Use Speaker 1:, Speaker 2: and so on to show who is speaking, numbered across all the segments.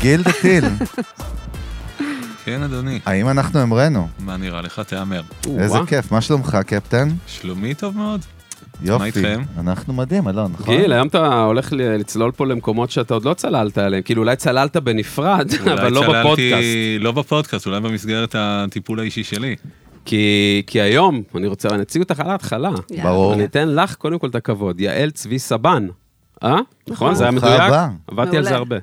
Speaker 1: גיל דה אה, טיל,
Speaker 2: כן, אדוני.
Speaker 1: האם אנחנו המרנו?
Speaker 2: מה נראה לך? תהמר.
Speaker 1: איזה כיף, מה שלומך, קפטן?
Speaker 2: שלומי טוב מאוד.
Speaker 1: יופי.
Speaker 2: איתכם?
Speaker 1: אנחנו מדהים, אלון, נכון?
Speaker 3: גיל, היום אתה הולך ל- לצלול פה למקומות שאתה עוד לא צללת עליהם. כאילו, אולי צללת בנפרד, אבל לא
Speaker 2: אולי
Speaker 3: בפודקאסט.
Speaker 2: צללתי- לא בפודקאסט, אולי במסגרת הטיפול האישי שלי.
Speaker 3: כי, כי היום, אני רוצה, אני אציג אותך על ההתחלה.
Speaker 4: יאללה.
Speaker 1: ברור.
Speaker 3: אני אתן לך קודם כל את הכבוד, יעל צבי סבן. אה? נכון, זה היה
Speaker 1: ברוכה
Speaker 3: מדויק?
Speaker 1: הבאה.
Speaker 3: עבדתי על
Speaker 4: מעולה.
Speaker 3: זה הרבה.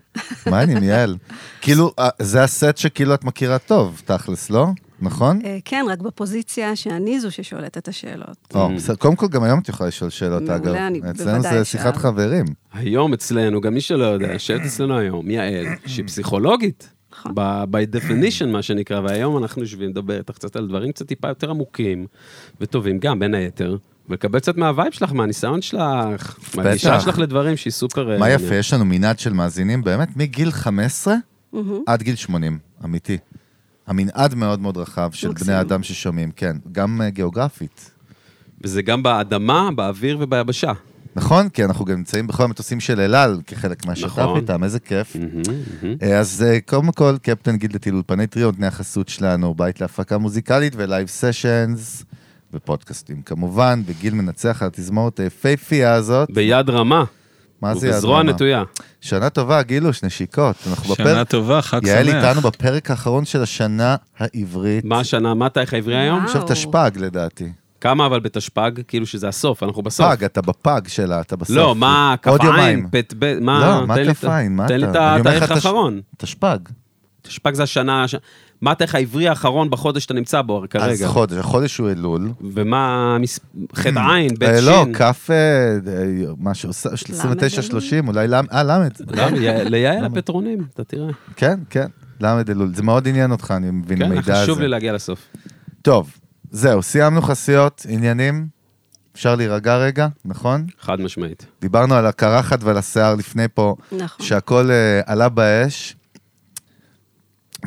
Speaker 1: מה העניינים, יעל? כאילו, אה, זה הסט שכאילו את מכירה טוב, תכלס, לא? נכון?
Speaker 4: אה, כן, רק בפוזיציה שאני זו ששואלת את השאלות.
Speaker 1: או, בסדר. קודם כל, גם היום את יכולה לשאול שאלות,
Speaker 4: אה. מעולה,
Speaker 1: אגב.
Speaker 4: אני
Speaker 1: אצלנו
Speaker 4: בוודאי
Speaker 1: זה שיחת
Speaker 4: אשאל. אה,
Speaker 1: חברים.
Speaker 3: היום אצלנו, גם מי שלא יודע, יושבת אצלנו היום יעל, שהיא פסיכולוגית.
Speaker 4: נכון.
Speaker 3: ב- by definition, מה שנקרא, והיום אנחנו יושבים לדבר איתך קצת על דברים קצת טיפה יותר עמוקים וטובים, גם בין היתר, ולקבל קצת מהווייב שלך, מהניסיון שלך, מהגישה שלך לדברים שהיא סופר... אה,
Speaker 1: מה יפה,
Speaker 3: מעניינת.
Speaker 1: יש לנו מנעד של מאזינים, באמת, מגיל 15 עד גיל 80, אמיתי. המנעד מאוד מאוד רחב של
Speaker 4: מקסים.
Speaker 1: בני אדם ששומעים, כן, גם אה, גיאוגרפית.
Speaker 3: וזה גם באדמה, באוויר וביבשה.
Speaker 1: נכון? כי אנחנו גם נמצאים בכל המטוסים של אל על כחלק מהשת"פ
Speaker 3: נכון.
Speaker 1: איתם, איזה כיף. אה, אז אה, קודם כל, קפטן גיל דתיל, אולפני טריו, נותני החסות שלנו, בית להפקה מוזיקלית ולייב סשנס, ופודקאסטים כמובן, וגיל מנצח על התזמורת היפהפייה הזאת.
Speaker 3: ביד רמה,
Speaker 1: מה זה
Speaker 3: ובזרוע
Speaker 1: ידרמה?
Speaker 3: נטויה.
Speaker 1: שנה טובה, גילוש, נשיקות. אנחנו
Speaker 2: שנה
Speaker 1: בפרק...
Speaker 2: טובה, חג
Speaker 1: יעל איתנו
Speaker 2: שמח.
Speaker 1: בפרק האחרון של השנה העברית.
Speaker 3: מה השנה, מה התאריך העברי היום?
Speaker 4: וואו.
Speaker 1: עכשיו תשפ"ג לדעתי.
Speaker 3: כמה אבל בתשפ"ג? כאילו שזה הסוף, אנחנו בסוף.
Speaker 1: פג, אתה בפג שלה, אתה בסוף.
Speaker 3: לא, מה,
Speaker 1: עוד
Speaker 3: כפיים,
Speaker 1: יומיים.
Speaker 3: פט בית, מה,
Speaker 1: לא, מה
Speaker 3: תן לי את-
Speaker 1: כפיים? מה אתה?
Speaker 3: תן לי את
Speaker 1: אני אומר לך,
Speaker 3: התאריך
Speaker 1: תש-
Speaker 3: האחרון.
Speaker 1: תשפ"ג.
Speaker 3: תשפ"ג זה השנה, הש- מה התאריך העברי האחרון בחודש שאתה נמצא בו
Speaker 1: אז
Speaker 3: כרגע?
Speaker 1: חודש, החודש הוא אלול.
Speaker 3: ומה, מס- חטא עין, בית
Speaker 1: אה,
Speaker 3: שין.
Speaker 1: לא, כף, אה, אה, מה שעושה, 29-30, אולי למ... אה, למד.
Speaker 3: למה? י- לא, ליעל הפטרונים, אתה תראה.
Speaker 1: כן, כן, למד אלול. זה מאוד עניין אותך, אני מבין,
Speaker 3: כן,
Speaker 1: המידע הזה.
Speaker 3: חשוב לי להגיע לסוף.
Speaker 1: טוב, זהו, סיימנו חסיות, עניינים. אפשר להירגע רגע, נכון?
Speaker 3: חד משמעית.
Speaker 1: דיברנו על הקרחת ועל השיער לפני פה,
Speaker 4: נכון.
Speaker 1: שהכל אה, עלה באש.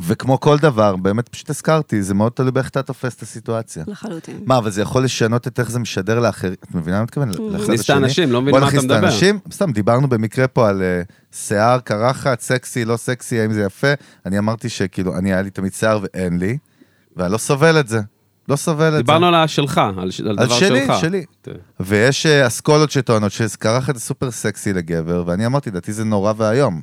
Speaker 1: וכמו כל דבר, באמת פשוט הזכרתי, זה מאוד תלוי באיך אתה תופס את הסיטואציה.
Speaker 4: לחלוטין.
Speaker 1: מה, אבל זה יכול לשנות את איך זה משדר לאחרים? את מבינה מה אני מתכוון? לאחד
Speaker 3: נכניס את האנשים, לא מבין
Speaker 1: בוא
Speaker 3: מה אתה
Speaker 1: נכניס את
Speaker 3: מדבר.
Speaker 1: האנשים, סתם, דיברנו במקרה פה על אה, שיער, קרחת, סקסי, לא סקסי, האם זה יפה. אני אמרתי שכאילו, אני, היה לי תמיד שיער ואין לי, ואני לא סובל את זה. לא סובל את זה.
Speaker 3: דיברנו על השלך, על ש- על
Speaker 1: על
Speaker 3: דבר
Speaker 1: שלי,
Speaker 3: שלך.
Speaker 1: שלי.
Speaker 3: תראה.
Speaker 1: ויש אה, אסכולות שטוענות שקרחת זה סופר סקסי לגבר, ואני אמרתי, לדעתי זה נורא ואיום.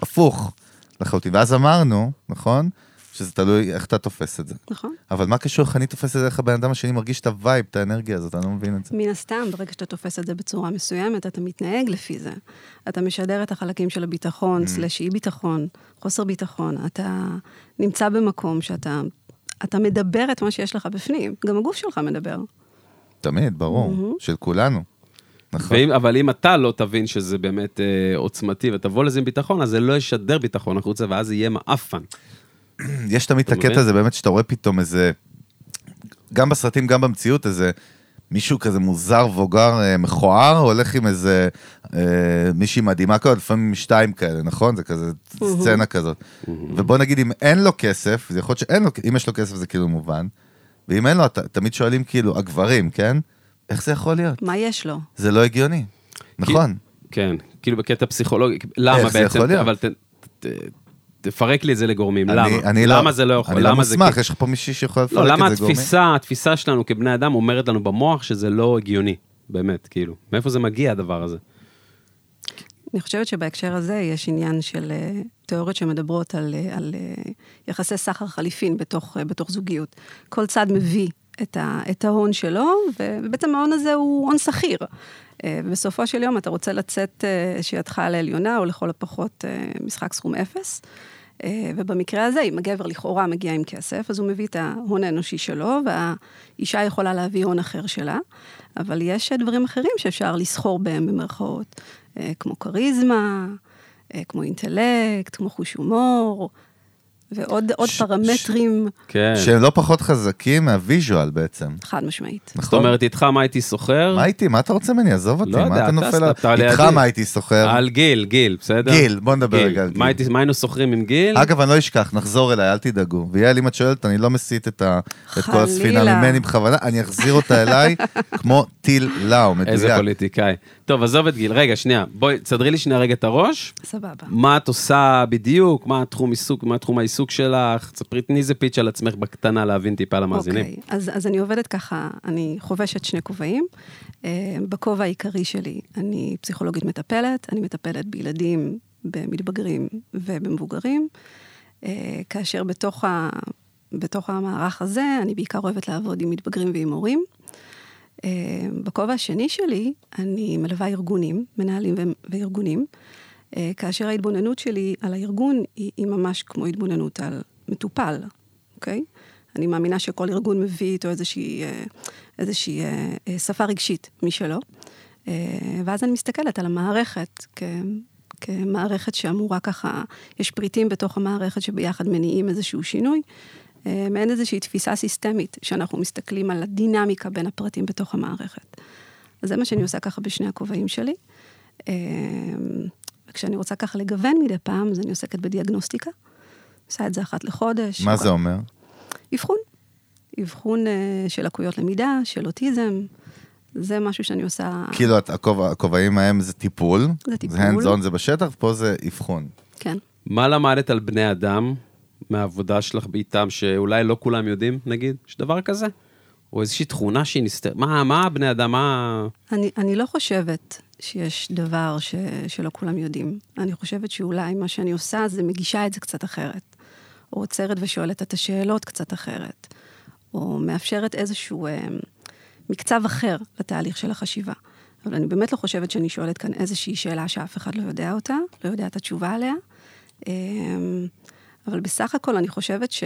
Speaker 1: הפוך לחלוטין. ואז אמרנו, נכון? שזה תלוי איך אתה תופס את זה.
Speaker 4: נכון.
Speaker 1: אבל מה קשור איך אני תופס את זה, איך הבן אדם השני מרגיש את הווייב, את האנרגיה הזאת, אני לא מבין את זה.
Speaker 4: מן הסתם, ברגע שאתה תופס את זה בצורה מסוימת, אתה מתנהג לפי זה. אתה משדר את החלקים של
Speaker 1: Mm.
Speaker 4: הביטחון, סלש אי ביטחון, חוסר ביטחון. אתה נמצא במקום שאתה... אתה מדבר את מה שיש לך בפנים. גם הגוף שלך מדבר.
Speaker 1: תמיד, ברור, של כולנו. נכון.
Speaker 3: ואם, אבל אם אתה לא תבין שזה באמת אה, עוצמתי ותבוא לזה עם ביטחון, אז זה לא ישדר ביטחון החוצה, ואז יהיה מעפן.
Speaker 1: יש תמיד את
Speaker 3: אתה
Speaker 1: הקטע
Speaker 3: מבין?
Speaker 1: הזה, באמת, שאתה רואה פתאום איזה, גם בסרטים, גם במציאות, איזה מישהו כזה מוזר, מבוגר, אה, מכוער, הולך עם איזה אה, מישהי מדהימה כזאת, לפעמים עם שתיים כאלה, נכון? זה כזה סצנה כזאת. ובוא נגיד, אם אין לו כסף, זה יכול להיות שאין לו, אם יש לו כסף זה כאילו מובן, ואם אין לו, ת- תמיד שואלים כאילו, הגברים, כן? איך זה יכול להיות?
Speaker 4: מה יש לו?
Speaker 1: זה לא הגיוני. נכון.
Speaker 3: כן, כאילו בקטע פסיכולוגי, למה
Speaker 1: איך
Speaker 3: בעצם?
Speaker 1: זה יכול להיות?
Speaker 3: אבל ת, ת, תפרק לי את זה לגורמים,
Speaker 1: אני-
Speaker 3: למה?
Speaker 1: אני
Speaker 3: למה זה לא יכול?
Speaker 1: אני לא
Speaker 3: למה זה-
Speaker 1: מוסמך, יש לך פה מישהי שיכולה לפרק את
Speaker 3: לא,
Speaker 1: זה
Speaker 3: למה
Speaker 1: גורמים?
Speaker 3: התפיסה, התפיסה שלנו כבני אדם אומרת לנו במוח שזה לא הגיוני, באמת, כאילו. מאיפה זה מגיע הדבר הזה?
Speaker 4: אני חושבת שבהקשר הזה יש עניין של אה, תיאוריות שמדברות על, אה, על אה, יחסי סחר חליפין בתוך, אה, בתוך זוגיות. כל צד מביא את, ה, את ההון שלו, ו- ובעצם ההון הזה הוא הון שכיר. אה, ובסופו של יום אתה רוצה לצאת אה, שידך על העליונה, או לכל הפחות אה, משחק סכום אפס. אה, ובמקרה הזה, אם הגבר לכאורה מגיע עם כסף, אז הוא מביא את ההון האנושי שלו, והאישה יכולה להביא הון אחר שלה, אבל יש אה, דברים אחרים שאפשר לסחור בהם במרכאות, אה, כמו כריזמה, אה, כמו אינטלקט, כמו חוש הומור, ועוד עוד
Speaker 1: ש-
Speaker 4: פרמטרים,
Speaker 3: כן.
Speaker 1: שהם לא פחות חזקים מהוויז'ואל בעצם.
Speaker 4: חד משמעית.
Speaker 3: זאת
Speaker 1: נכון?
Speaker 3: אומרת, איתך מה הייתי סוחר?
Speaker 1: מה איתי? מה אתה רוצה ממני? עזוב אותי,
Speaker 3: לא יודע,
Speaker 1: מה אתה
Speaker 3: אתה-
Speaker 1: נופל?
Speaker 3: אתה
Speaker 1: על- איתך
Speaker 3: לידי.
Speaker 1: מה הייתי סוחר?
Speaker 3: על גיל, גיל, בסדר?
Speaker 1: גיל, בוא נדבר
Speaker 3: גיל.
Speaker 1: רגע על גיל.
Speaker 3: מה הייתי- מה היינו סוחרים עם גיל?
Speaker 1: אגב, אני לא אשכח, נחזור אליי, אל תדאגו. ויעל, אם את שואלת, אני לא מסיט את ה- את כל הספינה
Speaker 4: חלילה.
Speaker 1: ממני בכוונה, אני אחזיר אותה אליי כמו טיל לאו,
Speaker 3: איזה
Speaker 1: מדויק.
Speaker 3: פוליטיקאי. טוב, עזוב את גיל. רגע, שנייה. בואי, תסדרי לי שנייה רגע את הראש.
Speaker 4: סבבה.
Speaker 3: מה את עושה בדיוק? מה התחום עיסוק? מה תחום העיסוק שלך? תספרי, תני איזה פיץ' על עצמך בקטנה להבין טיפה למאזינים.
Speaker 4: אוקיי, אז, אז אני עובדת ככה, אני חובשת שני כובעים. אה, בכובע העיקרי שלי, אני פסיכולוגית מטפלת, אני מטפלת בילדים, במתבגרים ובמבוגרים, אה, כאשר בתוך, ה, בתוך המערך הזה, אני בעיקר אוהבת לעבוד עם מתבגרים ועם הורים. אה, בכובע השני שלי, אני מלווה ארגונים, מנהלים ו- וארגונים, אה, כאשר ההתבוננות שלי על הארגון היא, היא ממש כמו התבוננות על מטופל, אוקיי? אני מאמינה שכל ארגון מביא איתו איזושהי, אה, איזושהי אה, אה, שפה רגשית משלו. אה, ואז אני מסתכלת על המערכת כ, כמערכת שאמורה ככה, יש פריטים בתוך המערכת שביחד מניעים איזשהו שינוי. אה, מעין איזושהי תפיסה סיסטמית, שאנחנו מסתכלים על הדינמיקה בין הפרטים בתוך המערכת. אז זה מה שאני עושה ככה בשני הכובעים שלי. אה, וכשאני רוצה ככה לגוון מדי פעם, אז אני עוסקת בדיאגנוסטיקה. עושה את זה אחת לחודש.
Speaker 1: מה זה אומר?
Speaker 4: אבחון. אבחון אה, של לקויות למידה, של אוטיזם. זה משהו שאני עושה...
Speaker 1: כאילו, את- הכובע- הכובעים ההם זה טיפול.
Speaker 4: זה טיפול.
Speaker 1: זה hands on זה בשטח, פה זה אבחון.
Speaker 4: כן.
Speaker 3: מה למדת על בני אדם מהעבודה שלך באיתם, שאולי לא כולם יודעים, נגיד? יש דבר כזה? או איזושהי תכונה שהיא נסתרת? מה, מה בני אדם, מה...
Speaker 4: אני, אני לא חושבת שיש דבר ש, שלא כולם יודעים. אני חושבת שאולי מה שאני עושה זה מגישה את זה קצת אחרת. או עוצרת ושואלת את השאלות קצת אחרת. או מאפשרת איזשהו אה, מקצב אחר לתהליך של החשיבה. אבל אני באמת לא חושבת שאני שואלת כאן איזושהי שאלה שאף אחד לא יודע אותה, לא יודע את התשובה עליה. אה, אבל בסך הכל אני חושבת ש...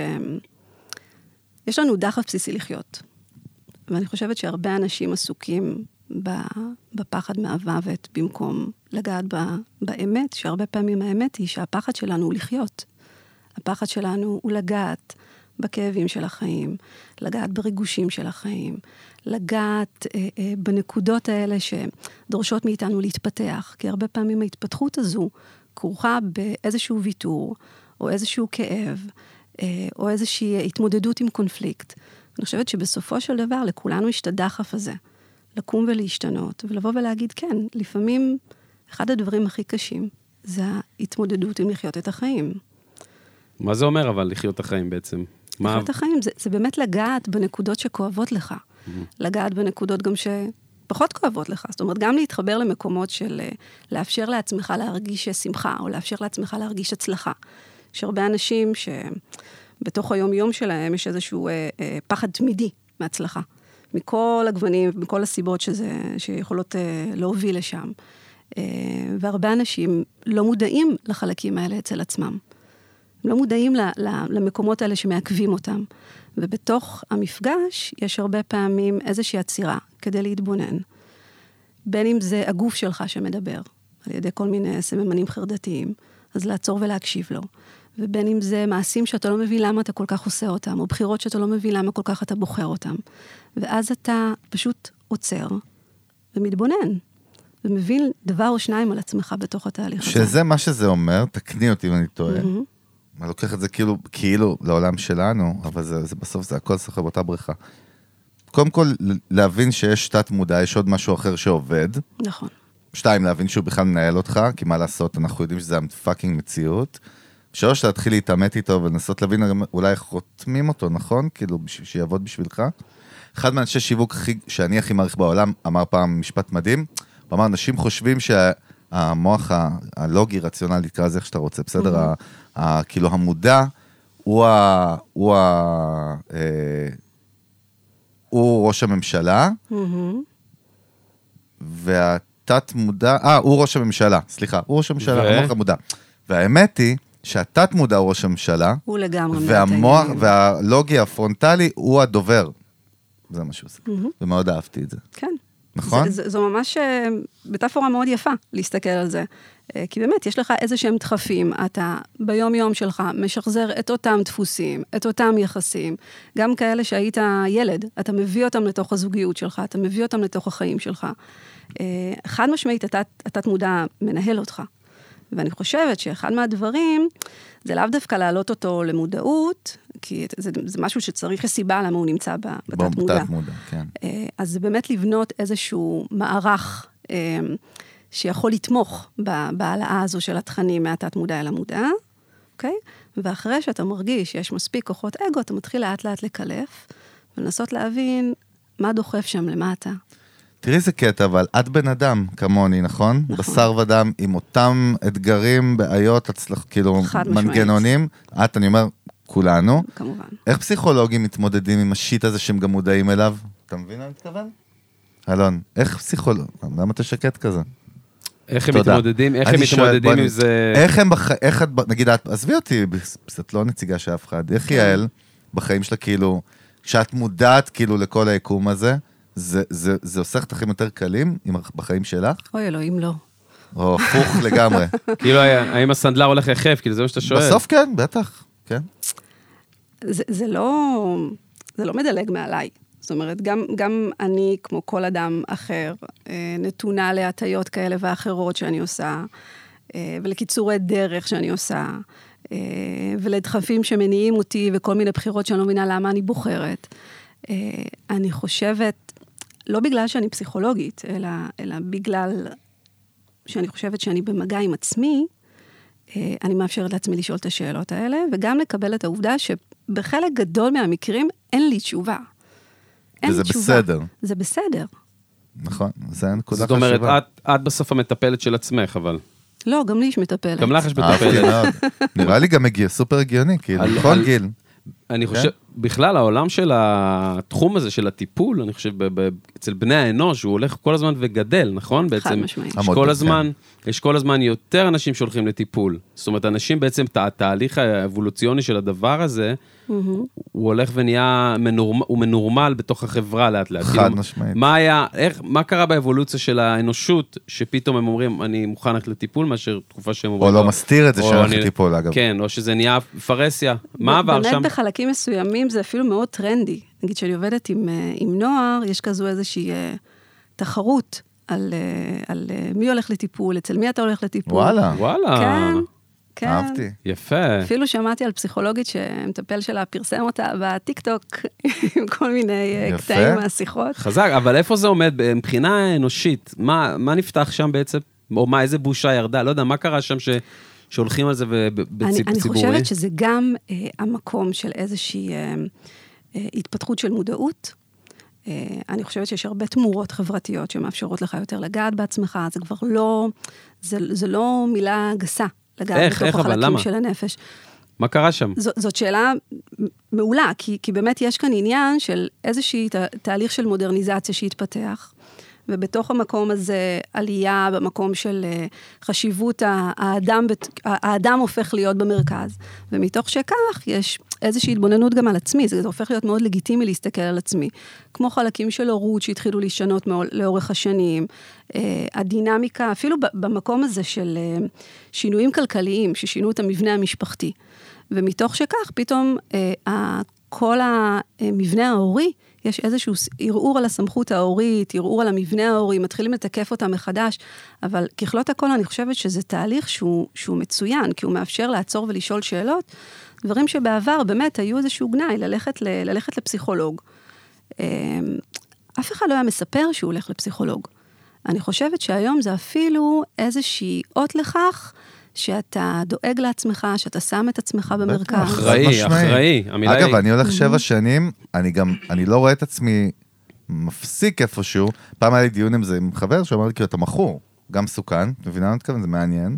Speaker 4: יש לנו דחף בסיסי לחיות. ואני חושבת שהרבה אנשים עסוקים ב- בפחד מהמוות במקום לגעת ב, באמת, שהרבה פעמים האמת היא שהפחד שלנו הוא לחיות. הפחד שלנו הוא לגעת בכאבים של החיים, לגעת בריגושים של החיים, לגעת אה, אה, בנקודות האלה שדורשות מאיתנו להתפתח, כי הרבה פעמים ההתפתחות הזו כרוכה באיזשהו ויתור או איזשהו כאב. אה, או איזושהי התמודדות עם קונפליקט. אני חושבת שבסופו של דבר לכולנו יש את הדחף הזה, לקום ולהשתנות, ולבוא ולהגיד, כן, לפעמים אחד הדברים הכי קשים זה ההתמודדות עם לחיות את החיים.
Speaker 3: מה זה אומר אבל לחיות את החיים בעצם? מה...
Speaker 4: לחיות את החיים זה, זה באמת לגעת בנקודות שכואבות לך, לגעת בנקודות גם שפחות כואבות לך. זאת אומרת, גם להתחבר למקומות של אה, לאפשר לעצמך להרגיש אה, שמחה, או לאפשר לעצמך להרגיש הצלחה. יש הרבה אנשים שבתוך היום-יום שלהם יש איזשהו אה, אה, פחד תמידי מהצלחה. מכל הגוונים, מכל הסיבות שזה, שיכולות אה, להוביל לשם. אה, והרבה אנשים לא מודעים לחלקים האלה אצל עצמם. הם לא מודעים ל, ל, למקומות האלה שמעכבים אותם. ובתוך המפגש יש הרבה פעמים איזושהי עצירה כדי להתבונן. בין אם זה הגוף שלך שמדבר, על ידי כל מיני סממנים חרדתיים, אז לעצור ולהקשיב לו. ובין אם זה מעשים שאתה לא מבין למה אתה כל כך עושה אותם, או בחירות שאתה לא מבין למה כל כך אתה בוחר אותם. ואז אתה פשוט עוצר ומתבונן, ומבין דבר או שניים על עצמך בתוך התהליך הזה.
Speaker 1: שזה מה שזה אומר, תקני אותי אם אני טועה. אני לוקח את זה כאילו, כאילו לעולם שלנו, אבל זה, זה בסוף זה הכל סוחר באותה בריכה. קודם כל, ל- להבין שיש תת מודע, יש עוד משהו אחר שעובד.
Speaker 4: נכון.
Speaker 1: שתיים, להבין שהוא בכלל מנהל אותך, כי מה לעשות, אנחנו יודעים שזה הפאקינג מציאות. שלוש, להתחיל להתעמת איתו ולנסות להבין גם אולי איך רותמים אותו, נכון? כאילו, בשביל שיעבוד בשבילך. אחד מאנשי שיווק הכי, שאני הכי מעריך בעולם אמר פעם משפט מדהים, הוא אמר, אנשים חושבים שהמוח ה- הלוגי, רציונלי, תקרא לזה איך שאתה רוצה, בסדר? ה- ה- כאילו, המודע הוא ה... הוא ה... אה, הוא ראש הממשלה,
Speaker 4: מהמם.
Speaker 1: והתת מודע, אה, הוא ראש הממשלה, סליחה, הוא ראש הממשלה,
Speaker 3: ו-
Speaker 1: המוח המודע. והאמת היא שהתת מודע הוא ראש הממשלה,
Speaker 4: הוא לגמרי מנהל את
Speaker 1: והמוח,
Speaker 4: העניינים.
Speaker 1: והלוגי הפרונטלי הוא הדובר. זה מה שהוא עושה, ומאוד אהבתי את זה.
Speaker 4: כן.
Speaker 1: נכון?
Speaker 4: ז, ז, זו ממש אה, מטאפורה מאוד יפה להסתכל על זה. אה, כי באמת, יש לך איזה שהם דחפים, אתה ביום-יום שלך משחזר את אותם דפוסים, את אותם יחסים, גם כאלה שהיית ילד, אתה מביא אותם לתוך הזוגיות שלך, אתה מביא אותם לתוך החיים שלך. אה, חד משמעית, התת- התת-מודע מנהל אותך. ואני חושבת שאחד מהדברים זה לאו דווקא להעלות אותו למודעות, כי את- זה, זה משהו שצריך יש סיבה למה הוא נמצא ב- בתת-מודע.
Speaker 1: מודע, כן.
Speaker 4: אה, אז זה באמת לבנות איזשהו מערך אה, שיכול לתמוך ב- בהעלאה הזו של התכנים מהתת-מודע אל המודע, אוקיי? ואחרי שאתה מרגיש שיש מספיק כוחות אגו, אתה מתחיל לאט-לאט לקלף ולנסות להבין מה דוחף שם למטה.
Speaker 1: תראי איזה קטע, אבל את בן אדם כמוני, נכון?
Speaker 4: נכון.
Speaker 1: בשר ודם, עם אותם אתגרים, בעיות, הצלח, כאילו,
Speaker 4: חד משמעית.
Speaker 1: מנגנונים. את, אני אומר, כולנו.
Speaker 4: כמובן.
Speaker 1: איך פסיכולוגים מתמודדים עם השיט הזה שהם גם מודעים אליו? אתה מבין מה אני מתכוון? אלון, איך פסיכולוג... למה אתה שקט כזה?
Speaker 3: איך הם
Speaker 1: תודה.
Speaker 3: מתמודדים, איך
Speaker 1: אני
Speaker 3: הם
Speaker 1: שואל,
Speaker 3: מתמודדים
Speaker 1: בוא
Speaker 3: עם
Speaker 1: אני-
Speaker 3: זה...
Speaker 1: איך הם בח... איך את... ב- נגיד, את... עזבי אותי, בס- את לא נציגה של אף אחד.
Speaker 3: כן.
Speaker 1: איך יעל, בחיים שלה, כאילו, כשאת מודעת, כאילו, לכל היקום הזה, זה, זה, זה עושה לך את החיים יותר קלים עם... הח- בחיים שלך,
Speaker 4: אוי אלוהים, לא.
Speaker 1: או הפוך לגמרי?
Speaker 3: כאילו, האם הסנדלר הולך יחף? כאילו, זה מה שאתה שואל.
Speaker 1: בסוף כן, בטח, כן.
Speaker 4: זה, זה לא... זה לא מדלג מעליי. זאת אומרת, גם, גם אני, כמו כל אדם אחר, אה, נתונה להטיות כאלה ואחרות שאני עושה, אה, ולקיצורי דרך שאני עושה, אה, ולדחפים שמניעים אותי, וכל מיני בחירות שאני לא מבינה למה אני בוחרת. אה, אני חושבת, לא בגלל שאני פסיכולוגית, אלא, אלא בגלל שאני חושבת שאני במגע עם עצמי, אה, אני מאפשרת לעצמי לשאול את השאלות האלה, וגם לקבל את העובדה שבחלק גדול מהמקרים אין לי תשובה. אין
Speaker 1: וזה
Speaker 4: לי תשובה.
Speaker 1: בסדר.
Speaker 4: זה בסדר.
Speaker 1: נכון, זה הנקודה
Speaker 3: זאת
Speaker 1: חשובה.
Speaker 3: אומרת, את- את בסוף המטפלת של עצמך, אבל.
Speaker 4: לא, גם לי יש מטפלת.
Speaker 3: גם לך יש
Speaker 1: אהבתי
Speaker 3: מטפלת.
Speaker 1: מאוד. נראה לי גם הגיע, סופר הגיוני, כאילו,
Speaker 3: על-
Speaker 1: בכל
Speaker 3: על-
Speaker 1: גיל.
Speaker 3: אני
Speaker 1: כן.
Speaker 3: חושב, בכלל, העולם של התחום הזה, של הטיפול, אני חושב, ב- ב- אצל בני האנוש, הוא הולך כל הזמן וגדל, נכון? בעצם,
Speaker 4: משמעית.
Speaker 3: יש
Speaker 1: המודל, כן.
Speaker 3: כל הזמן, יש כל הזמן יותר אנשים שהולכים לטיפול. זאת אומרת, אנשים בעצם, ת- התהליך האבולוציוני של הדבר הזה, הוא הולך ונהיה, מנורמ- הוא מנורמל בתוך החברה לאט לאט.
Speaker 1: חד
Speaker 3: כאילו,
Speaker 1: משמעית.
Speaker 3: מה היה, איך, מה קרה באבולוציה של האנושות, שפתאום הם אומרים, אני מוכן ללכת לטיפול, מאשר תקופה שהם אומרים...
Speaker 1: או לא מסתיר את זה
Speaker 3: או
Speaker 1: שהולך
Speaker 3: אני-
Speaker 1: לטיפול, אגב.
Speaker 3: כן, או שזה נהיה פרהסיה. מה עבר שם?
Speaker 4: באמת בחלקים מסוימים זה אפילו מאוד טרנדי. נגיד כשאני עובדת עם, אה, עם נוער, יש כזו איזושהי אה, תחרות על, אה, על אה, מי הולך לטיפול, אצל מי אתה הולך לטיפול.
Speaker 1: וואלה,
Speaker 3: וואלה.
Speaker 4: כן, כן.
Speaker 1: אהבתי.
Speaker 3: יפה.
Speaker 4: אפילו שמעתי על פסיכולוגית שהמטפל שלה פרסם אותה בטיקטוק, עם כל מיני אה,
Speaker 1: יפה.
Speaker 4: קטעים מהשיחות.
Speaker 3: חזק, אבל איפה זה עומד מבחינה אנושית? מה, מה נפתח שם בעצם? או מה, איזה בושה ירדה? לא יודע, מה קרה שם ש, שהולכים על זה
Speaker 4: אני,
Speaker 3: בציבורי?
Speaker 4: אני חושבת שזה גם אה, המקום של איזושהי אה, אה, התפתחות של מודעות. אה, אני חושבת שיש הרבה תמורות חברתיות שמאפשרות לך יותר לגעת בעצמך, זה כבר לא, זה, זה לא מילה גסה, לגעת
Speaker 3: איך,
Speaker 4: בתוך
Speaker 3: איך, אבל
Speaker 4: החלקים
Speaker 3: למה?
Speaker 4: של הנפש.
Speaker 3: מה קרה שם?
Speaker 4: זו, זאת שאלה מעולה, כי, כי באמת יש כאן עניין של איזשהי תה, תהליך של מודרניזציה שהתפתח, ובתוך המקום הזה עלייה במקום של אה, חשיבות ה- האדם, בת- ה- האדם הופך להיות במרכז, ומתוך שכך יש איזושהי התבוננות גם על עצמי, זה, זה הופך להיות מאוד לגיטימי להסתכל על עצמי. כמו חלקים של הורות שהתחילו להשתנות מאו- לאורך השנים, אה, הדינמיקה, אפילו ב- במקום הזה של אה, שינויים כלכליים, ששינו את המבנה המשפחתי. ומתוך שכך, פתאום אה, ה- כל המבנה ההורי, יש איזשהו ס- ערעור על הסמכות ההורית, ערעור על המבנה ההורי, מתחילים לתקף אותה מחדש, אבל ככלות הכל אני חושבת שזה תהליך שהוא, שהוא מצוין, כי הוא מאפשר לעצור ולשאול שאלות, דברים שבעבר באמת היו איזשהו גנאי, ללכת, ל, ללכת לפסיכולוג. אה, אף אחד לא היה מספר שהוא הולך לפסיכולוג. אני חושבת שהיום זה אפילו איזושהי אות לכך שאתה דואג לעצמך, שאתה שם את עצמך במרכז.
Speaker 3: אחראי.
Speaker 1: חד-משמעית.
Speaker 3: אחראי, המילה
Speaker 1: אגב,
Speaker 3: היא-
Speaker 1: אני הולך שבע שנים, אני גם, אני לא רואה את עצמי מפסיק איפשהו. פעם היה לי דיון עם זה עם חבר שאמר לי, כאילו, אתה מכור, גם מסוכן, את מבינה מה אני מתכוון? זה מעניין.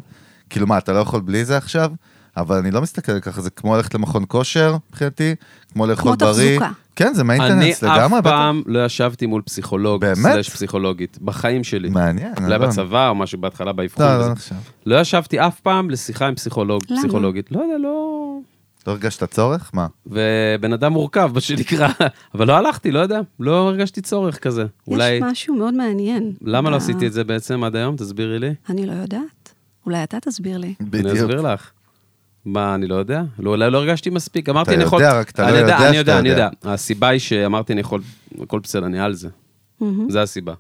Speaker 1: כאילו, מה, אתה לא יכול בלי זה עכשיו? אבל אני לא מסתכל ככה, זה כמו ללכת למכון כושר, מבחינתי, כמו לאכול בריא.
Speaker 4: תחזוקה.
Speaker 1: כן, זה
Speaker 3: אני
Speaker 1: מיינטננס
Speaker 3: אף
Speaker 1: לגמרי, בטח.
Speaker 3: פעם לא ישבתי מול פסיכולוג,
Speaker 1: באמת?
Speaker 3: סלש פסיכולוגית, בחיים שלי.
Speaker 1: מעניין,
Speaker 3: אולי
Speaker 1: אלון.
Speaker 3: בצבא או משהו בהתחלה באבחון.
Speaker 1: לא,
Speaker 3: וזה.
Speaker 1: לא עכשיו.
Speaker 3: לא ישבתי אף פעם לשיחה עם פסיכולוג,
Speaker 4: למה?
Speaker 3: פסיכולוגית. לא יודע, לא...
Speaker 1: לא הרגשת צורך? מה?
Speaker 3: ובן אדם מורכב, מה שנקרא, אבל לא הלכתי, לא יודע, לא הרגשתי צורך כזה. אולי,
Speaker 4: יש משהו אה. מאוד מעניין.
Speaker 3: למה לא
Speaker 4: ב-
Speaker 3: עשיתי את זה בעצם עד היום? תסבירי לי.
Speaker 4: אני לא יודעת. אולי אתה תסביר לי.
Speaker 3: אני אסביר לך. מה, אני לא יודע? לא, אולי לא הרגשתי מספיק. אמרתי, אני יכול...
Speaker 1: יודע, רק אתה
Speaker 3: אני
Speaker 1: לא יודע
Speaker 3: אני יודע,
Speaker 1: שאתה
Speaker 3: אני
Speaker 1: יודע.
Speaker 3: יודע. הסיבה היא שאמרתי, אני יכול... הכל בסדר, אני על זה. זה הסיבה.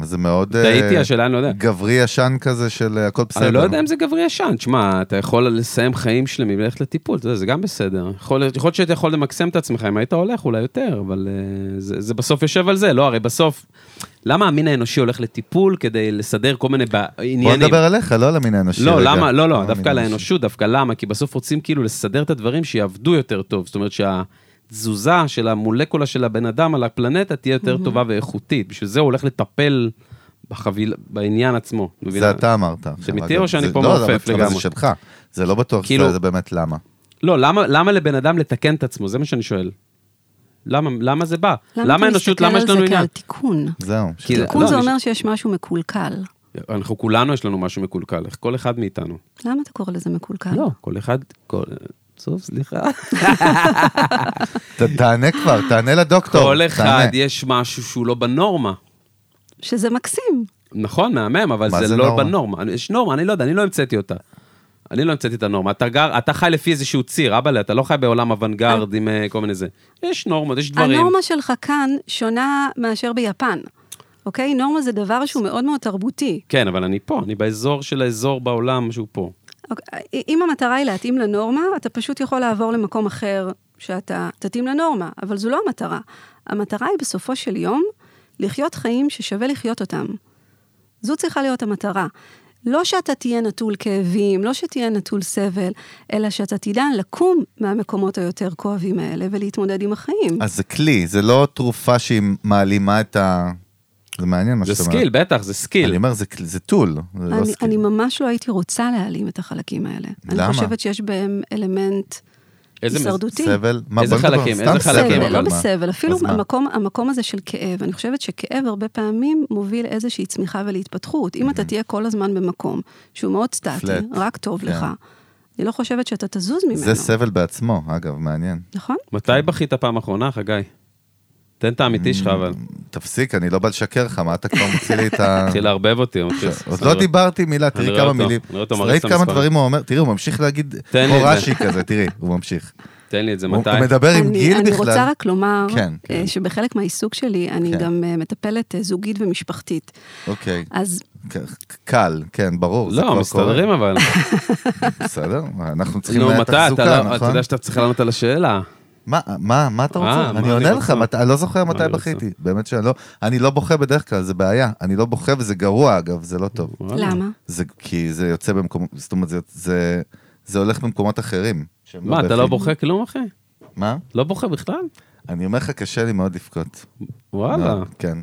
Speaker 1: אז זה מאוד... אה,
Speaker 3: טעיתי, השאלה אני לא יודע.
Speaker 1: גברי ישן כזה של אה, הכל בסדר.
Speaker 3: אני לא יודע אם זה גברי ישן. תשמע, אתה יכול לסיים חיים שלמים וללכת לטיפול, אתה יודע, זה גם בסדר. יכול להיות יכול להיות שאתה יכול למקסם את עצמך, אם היית הולך אולי יותר, אבל אה, זה זה בסוף יושב על זה, לא, הרי בסוף... למה המין האנושי הולך לטיפול כדי לסדר כל מיני בע-
Speaker 1: בוא
Speaker 3: עניינים?
Speaker 1: נדבר עליך, לא על המין האנושי.
Speaker 3: לא,
Speaker 1: רגע.
Speaker 3: למה, לא, לא,
Speaker 1: על
Speaker 3: דווקא
Speaker 1: המין
Speaker 3: על
Speaker 1: האנושי.
Speaker 3: האנושות, דווקא למה? כי בסוף רוצים כאילו לסדר את הדברים שיעבדו יותר טוב. זאת אומרת שהתזוזה של המולקולה של הבן אדם על הפלנטה תהיה
Speaker 4: Mm-hmm.
Speaker 3: יותר טובה ואיכותית. בשביל זה הוא הולך לטפל בחביל, בעניין עצמו. מבינה?
Speaker 1: זה אתה אמרת. עכשיו,
Speaker 3: אמיתי
Speaker 1: אגב.
Speaker 3: או שאני
Speaker 1: זה-
Speaker 3: פה
Speaker 1: לא,
Speaker 3: מעופף
Speaker 1: אבל- אבל זה
Speaker 3: לגמרי?
Speaker 1: שלך. זה לא בטוח
Speaker 3: כאילו-
Speaker 1: שזה באמת למה.
Speaker 3: לא, למה, למה לבן אדם לתקן את עצמו? זה מה שאני שואל. למה, למה זה בא?
Speaker 4: אתה
Speaker 3: למה האנושות, למה יש לנו
Speaker 4: מסתכל על
Speaker 3: עניין?
Speaker 4: זה כעל תיקון?
Speaker 1: זהו.
Speaker 3: כאילו-
Speaker 1: שכן.
Speaker 4: תיקון
Speaker 3: לא,
Speaker 4: זה
Speaker 3: אני ש-
Speaker 4: אומר שיש משהו מקולקל.
Speaker 3: אנחנו כולנו, יש לנו משהו מקולקל, כל אחד מאיתנו.
Speaker 4: למה אתה קורא לזה מקולקל?
Speaker 3: לא, כל אחד, כל... טוב, סליחה.
Speaker 1: ת- תענה כבר, תענה לדוקטור.
Speaker 3: כל אחד
Speaker 1: תענה.
Speaker 3: יש משהו שהוא לא בנורמה.
Speaker 4: שזה מקסים.
Speaker 3: נכון, מהמם, אבל
Speaker 1: מה
Speaker 3: זה,
Speaker 1: זה
Speaker 3: לא
Speaker 1: נורמה?
Speaker 3: בנורמה. אני- יש נורמה, אני לא יודע, אני לא המצאתי אותה. אני לא המצאתי את הנורמה. אתה, גר, אתה חי לפי איזשהו ציר, אבאלה, אתה לא חי בעולם אוונגרד עם אה, כל מיני זה. יש נורמות, יש דברים.
Speaker 4: הנורמה שלך כאן שונה מאשר ביפן, אוקיי? נורמה זה דבר שהוא מאוד מאוד תרבותי.
Speaker 3: כן, אבל אני פה, אני באזור של האזור בעולם שהוא פה.
Speaker 4: אוקיי, אם המטרה היא להתאים לנורמה, אתה פשוט יכול לעבור למקום אחר שאתה תתאים לנורמה, אבל זו לא המטרה. המטרה היא בסופו של יום לחיות חיים ששווה לחיות אותם. זו צריכה להיות המטרה. לא שאתה תהיה נטול כאבים, לא שתהיה נטול סבל, אלא שאתה תדע לקום מהמקומות היותר כואבים האלה ולהתמודד עם החיים.
Speaker 1: אז זה כלי, זה לא תרופה שהיא מעלימה את ה... זה מעניין מה
Speaker 3: זה
Speaker 1: שאתה אומר.
Speaker 3: סקיל, בטח, זה סקיל.
Speaker 1: אני אומר, זה כלי- זה טול, זה לא
Speaker 4: אני, אני
Speaker 1: סקיל.
Speaker 4: ממש לא הייתי רוצה להעלים את החלקים האלה.
Speaker 1: למה?
Speaker 4: אני חושבת שיש בהם אלמנט
Speaker 3: איזה מס-
Speaker 4: הישרדותי.
Speaker 1: סבל? מה,
Speaker 3: איזה
Speaker 1: בוא נדבר על
Speaker 3: חלקים?
Speaker 1: סתם
Speaker 3: איזה
Speaker 1: סבל, אבל
Speaker 3: חלקים?
Speaker 4: בסבל, לא
Speaker 1: מה?
Speaker 4: בסבל, אפילו
Speaker 1: אז מה?
Speaker 4: המקום, המקום הזה של כאב. אני חושבת שכאב הרבה פעמים מוביל איזושהי צמיחה ולהתפתחות. אם אתה תהיה כל הזמן במקום שהוא מאוד סטטי,
Speaker 1: Flat.
Speaker 4: רק טוב
Speaker 1: כן.
Speaker 4: לך, אני לא חושבת שאתה תזוז ממנו.
Speaker 1: זה סבל בעצמו, אגב, מעניין.
Speaker 4: נכון?
Speaker 3: מתי בכית פעם אחרונה, חגי? תן את האמיתי שלך, אבל.
Speaker 1: אה. תפסיק, אני לא בא לשקר לך, מה אתה כבר מוציא לי את ה...
Speaker 3: התחיל לערבב אותי. הוא מתחיל-
Speaker 1: עוד לא דיברתי מילה,
Speaker 3: אני
Speaker 1: תראי
Speaker 3: רואה
Speaker 1: כמה
Speaker 3: אותו,
Speaker 1: מילים.
Speaker 3: אני לא רואה אותו מריץ
Speaker 1: ראית
Speaker 3: את
Speaker 1: כמה
Speaker 3: המספרים.
Speaker 1: דברים הוא אומר, תראי, הוא ממשיך להגיד,
Speaker 3: תן לי
Speaker 1: או
Speaker 3: את זה.
Speaker 1: רש"י כזה, תראי, הוא ממשיך.
Speaker 3: תן לי את זה,
Speaker 1: הוא
Speaker 3: מתי?
Speaker 1: הוא מדבר עם
Speaker 4: אני-
Speaker 1: גיל
Speaker 4: אני רוצה
Speaker 1: בכלל.
Speaker 4: רק לומר,
Speaker 1: כן,
Speaker 4: אה,
Speaker 1: כן.
Speaker 4: שבחלק מהעיסוק שלי, אני
Speaker 1: כן.
Speaker 4: גם אה, מטפלת אה, זוגית ומשפחתית.
Speaker 1: אוקיי,
Speaker 4: אז
Speaker 1: ק- קל, כן, ברור. זה
Speaker 3: לא,
Speaker 1: כבר
Speaker 3: מסתדרים אבל.
Speaker 1: קורה. בסדר, אנחנו צריכים
Speaker 3: נו,
Speaker 1: היה
Speaker 3: מתי? אתה
Speaker 1: תחזוקה,
Speaker 3: לא- אתה
Speaker 1: נכון?
Speaker 3: יודע שאתה צריך לענות על השאלה.
Speaker 1: מה, מה, מה אתה
Speaker 3: אה,
Speaker 1: רוצה?
Speaker 3: מה
Speaker 1: אני
Speaker 3: אני
Speaker 1: עונה לך,
Speaker 3: רוצה?
Speaker 1: מת- אני לא זוכר מתי
Speaker 3: אני רוצה?
Speaker 1: בכיתי. באמת שאני לא, אני לא בוכה בדרך כלל, זה בעיה. אני לא בוכה וזה גרוע, אגב, זה לא טוב.
Speaker 3: וואלה.
Speaker 4: למה?
Speaker 1: זה כי זה יוצא במקומות, זאת אומרת, זה- זה- זה הולך במקומות אחרים. שהם
Speaker 3: מה, אתה לא
Speaker 1: בכי.
Speaker 3: בוכה כלום, אחי?
Speaker 1: מה?
Speaker 3: לא בוכה בכלל?
Speaker 1: אני אומר לך, קשה לי מאוד לבכות.
Speaker 3: וואלה.
Speaker 1: מאוד, כן,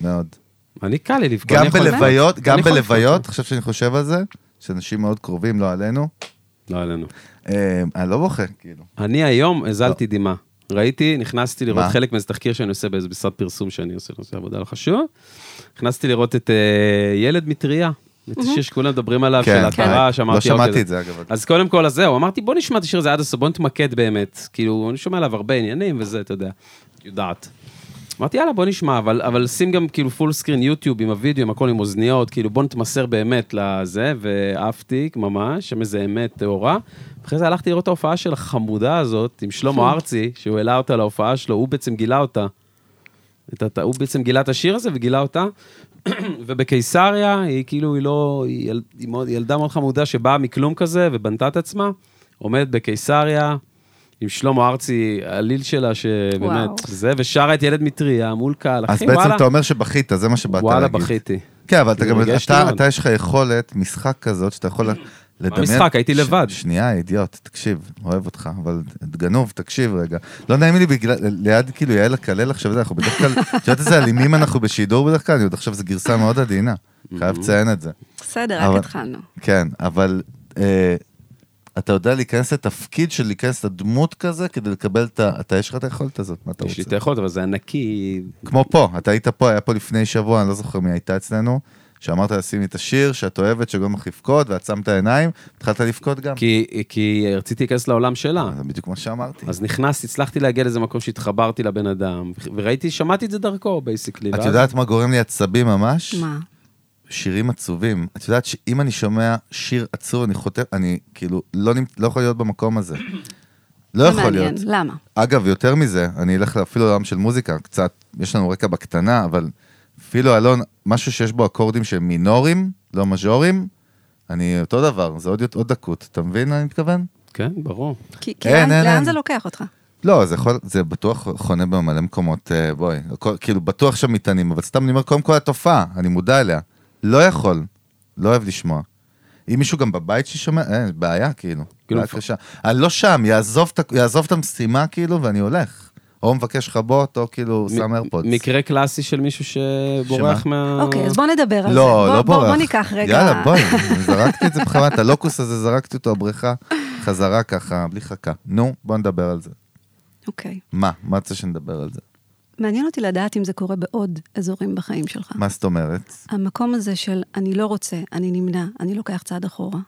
Speaker 1: מאוד.
Speaker 3: אני קל לי לבכות.
Speaker 1: גם
Speaker 3: אני יכול-
Speaker 1: בלוויות, גם
Speaker 3: אני יכול-
Speaker 1: בלוויות, עכשיו שאני חושב על זה, שאנשים מאוד קרובים, לא עלינו,
Speaker 3: לא עלינו.
Speaker 1: אה, אני לא בוכה, כאילו.
Speaker 3: אני היום הזלתי דמעה. ראיתי, נכנסתי לראות
Speaker 1: לא. מה?
Speaker 3: חלק מאיזה תחקיר שאני עושה באיזה משרד פרסום שאני עושה, עושה עבודה לא חשוב. נכנסתי לראות את אה, ילד מטריה. את השיר שכולם מדברים עליו, של ההכרה,
Speaker 1: לא
Speaker 3: שאמרתי,
Speaker 1: שמעתי
Speaker 3: אוקיי,
Speaker 1: את זה, אגב. עד-
Speaker 3: אז קודם כל, אז זהו, אמרתי, בוא נשמע את השיר הזה עד הסוף, בוא נתמקד באמת. כאילו, אני שומע עליו הרבה עניינים וזה, אתה יודע, יודעת. אמרתי, יאללה, בוא נשמע, אבל, אבל שים גם כאילו פול סקרין יוטיוב עם הוידאו, עם הכל עם אוזניות, כאילו, בוא נתמסר באמת לזה, ועפתי ממש, שם איזה אמת טהורה. אחרי זה הלכתי לראות את ההופעה של החמודה הזאת, עם שלמה ארצי, שהוא העלה אותה להופעה שלו, הוא בעצם גילה אותה. את הת- הוא בעצם גילה את השיר הזה וגילה אותה. ובקיסריה היא כאילו, היא לא, היא, יל, היא מאוד, היא ילדה מאוד חמודה שבאה מכלום כזה ובנתה את עצמה, עומדת בקיסריה עם שלמה ארצי, העליל שלה שבאמת,
Speaker 4: וואו.
Speaker 3: זה, ושרה את ילד מטריה מול קהל,
Speaker 1: אז
Speaker 3: אחי,
Speaker 1: בעצם
Speaker 3: וואלה,
Speaker 1: אתה אומר שבכית, זה מה שבאת להגיד.
Speaker 3: וואלה, בכיתי.
Speaker 1: כן, אבל אתה
Speaker 3: זה
Speaker 1: גם,
Speaker 3: מרגש
Speaker 1: אתה-
Speaker 3: מאוד.
Speaker 1: אתה יש לך יכולת, משחק כזאת, שאתה יכול לדמיין...
Speaker 3: משחק? הייתי
Speaker 1: ש-
Speaker 3: לבד.
Speaker 1: שנייה, אידיוט, תקשיב, אוהב אותך, אבל גנוב, תקשיב רגע. לא נעים לי בגלל, ליד כאילו יעל הקלל עכשיו, זה, אנחנו בדרך כלל, את יודעת איזה אלימים אנחנו בשידור בדרך כלל? אני עוד עכשיו, זו גרסה מאוד עדינה, חייב לציין את זה.
Speaker 4: בסדר,
Speaker 1: אבל-
Speaker 4: רק התחלנו.
Speaker 1: כן, אבל אה, אתה יודע להיכנס לתפקיד של להיכנס לדמות כזה, כדי לקבל את ה... אתה, יש לך את היכולת הזאת, מה אתה
Speaker 3: יש לי את
Speaker 1: רוצה?
Speaker 3: היכולת, אבל זה ענקי,
Speaker 1: כמו פה, אתה היית פה, היה פה לפני שבוע, אני לא זוכר מי הייתה אצלנו, שאמרת לשים את השיר שאת אוהבת, שגורם לך לבכות, ואת שמת עיניים, התחלת לבכות גם. אה,
Speaker 3: כי, כי רציתי להיכנס לעולם שלה.
Speaker 1: זה בדיוק מה שאמרתי.
Speaker 3: אז נכנסתי, הצלחתי להגיע לאיזה מקום שהתחברתי לבן אדם, וראיתי, שמעתי את זה דרכו, בייסיקלי.
Speaker 1: את יודעת מה גורם לי עצבים ממש?
Speaker 4: מה?
Speaker 1: שירים עצובים. את יודעת שאם אני שומע שיר עצוב, אני חוטף, אני כאילו לא, נמצ... לא יכול להיות במקום הזה. לא
Speaker 4: זה
Speaker 1: יכול
Speaker 4: מעניין,
Speaker 1: להיות.
Speaker 4: למה?
Speaker 1: אגב, יותר מזה, אני אלך אפילו לעולם של מוזיקה, קצת, יש לנו רקע בקטנה, אבל אפילו אלון, משהו שיש בו אקורדים שהם מינורים, לא מז'ורים, אני אותו דבר, זה עוד, עוד דקות, אתה מבין מה אני מתכוון?
Speaker 3: כן, ברור.
Speaker 4: כי, כי
Speaker 1: אין,
Speaker 4: לאן,
Speaker 1: אין,
Speaker 4: לאן
Speaker 1: אין.
Speaker 4: זה לוקח אותך?
Speaker 1: לא, זה, יכול, זה בטוח חונה במלא מקומות, אה, בואי, הכל, כאילו בטוח שם מטענים, אבל סתם אני אומר, קודם כל התופעה, אני מודע אליה. לא יכול, לא אוהב לשמוע. אם מישהו גם בבית ששומע, אין, בעיה, כאילו.
Speaker 3: כאילו,
Speaker 1: בעיה קשה. אני לא שם, יעזוב, את ה- יעזוב את המשימה, כאילו, ואני הולך. או מבקש חבות, או כאילו שם איירפודס.
Speaker 3: מקרה קלאסי של מישהו שבורח
Speaker 1: שמה?
Speaker 3: מה...
Speaker 4: אוקיי, אז בוא נדבר על זה.
Speaker 1: לא,
Speaker 4: בוא,
Speaker 1: לא
Speaker 4: בוא,
Speaker 1: בורח.
Speaker 4: בוא ניקח רגע.
Speaker 1: יאללה, בואי, זרקתי את זה בכלל, את הלוקוס הזה, זרקתי אותו הבריכה, חזרה ככה, בלי חכה. נו, בוא נדבר על זה.
Speaker 4: אוקיי.
Speaker 1: מה? מה את רוצה שנדבר על זה?
Speaker 4: מעניין אותי לדעת אם זה קורה בעוד אזורים בחיים שלך.
Speaker 1: מה זאת אומרת?
Speaker 4: המקום הזה של אני לא רוצה, אני נמנע, אני לוקח צעד אחורה.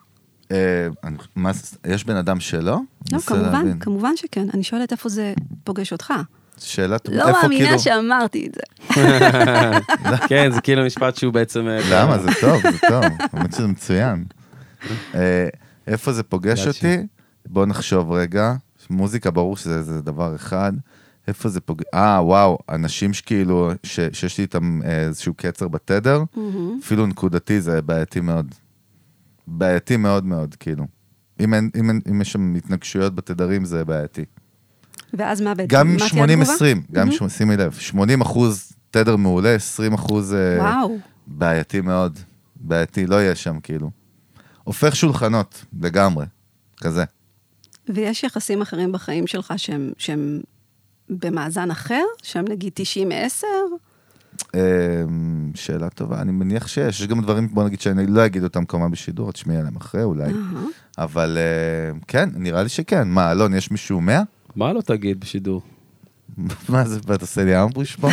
Speaker 1: אה, אני- מה זה- יש בן אדם שלא?
Speaker 4: לא,
Speaker 1: מנסה
Speaker 4: כמובן,
Speaker 1: להבין.
Speaker 4: כמובן שכן. אני שואלת איפה זה פוגש אותך.
Speaker 1: שאלה טובה.
Speaker 4: לא
Speaker 1: איפה,
Speaker 4: מאמינה
Speaker 1: כאילו-
Speaker 4: שאמרתי את זה.
Speaker 3: כן, זה כאילו משפט שהוא בעצם... אה,
Speaker 1: למה? זה טוב, זה טוב. האמת שזה מצוין. אה, איפה זה פוגש
Speaker 3: יד
Speaker 1: אותי? בוא נחשוב רגע. מוזיקה, ברור שזה זה דבר אחד. איפה זה פוגש... אה, וואו, אנשים שכאילו, ש- שיש לי איתם אה, איזשהו קצר בתדר, אפילו נקודתי זה בעייתי מאוד. בעייתי מאוד מאוד, כאילו. אם אין- אם אין- אם יש שם התנגשויות בתדרים, זה בעייתי.
Speaker 4: ואז מה בעצם?
Speaker 1: גם
Speaker 4: מה
Speaker 1: עם
Speaker 4: תהיה
Speaker 1: 80-20,
Speaker 4: התגובה?
Speaker 1: גם עם 80-20, שימי לב, 80 אחוז תדר מעולה, 20 אחוז אה,
Speaker 4: וואו.
Speaker 1: בעייתי מאוד, בעייתי, לא יהיה שם כאילו. הופך שולחנות לגמרי, כזה.
Speaker 4: ויש יחסים אחרים בחיים שלך שהם, שהם במאזן אחר? שהם נגיד 90-10?
Speaker 1: אה, שאלה טובה, אני מניח שיש, יש גם דברים, בוא נגיד שאני לא אגיד אותם כמובן בשידור, את תשמעי עליהם אחרי אולי, אבל אה, כן, נראה לי שכן. מה, אלון, יש מישהו 100?
Speaker 3: מה לא תגיד בשידור?
Speaker 1: מה זה, אתה עושה לי אמבוש פה?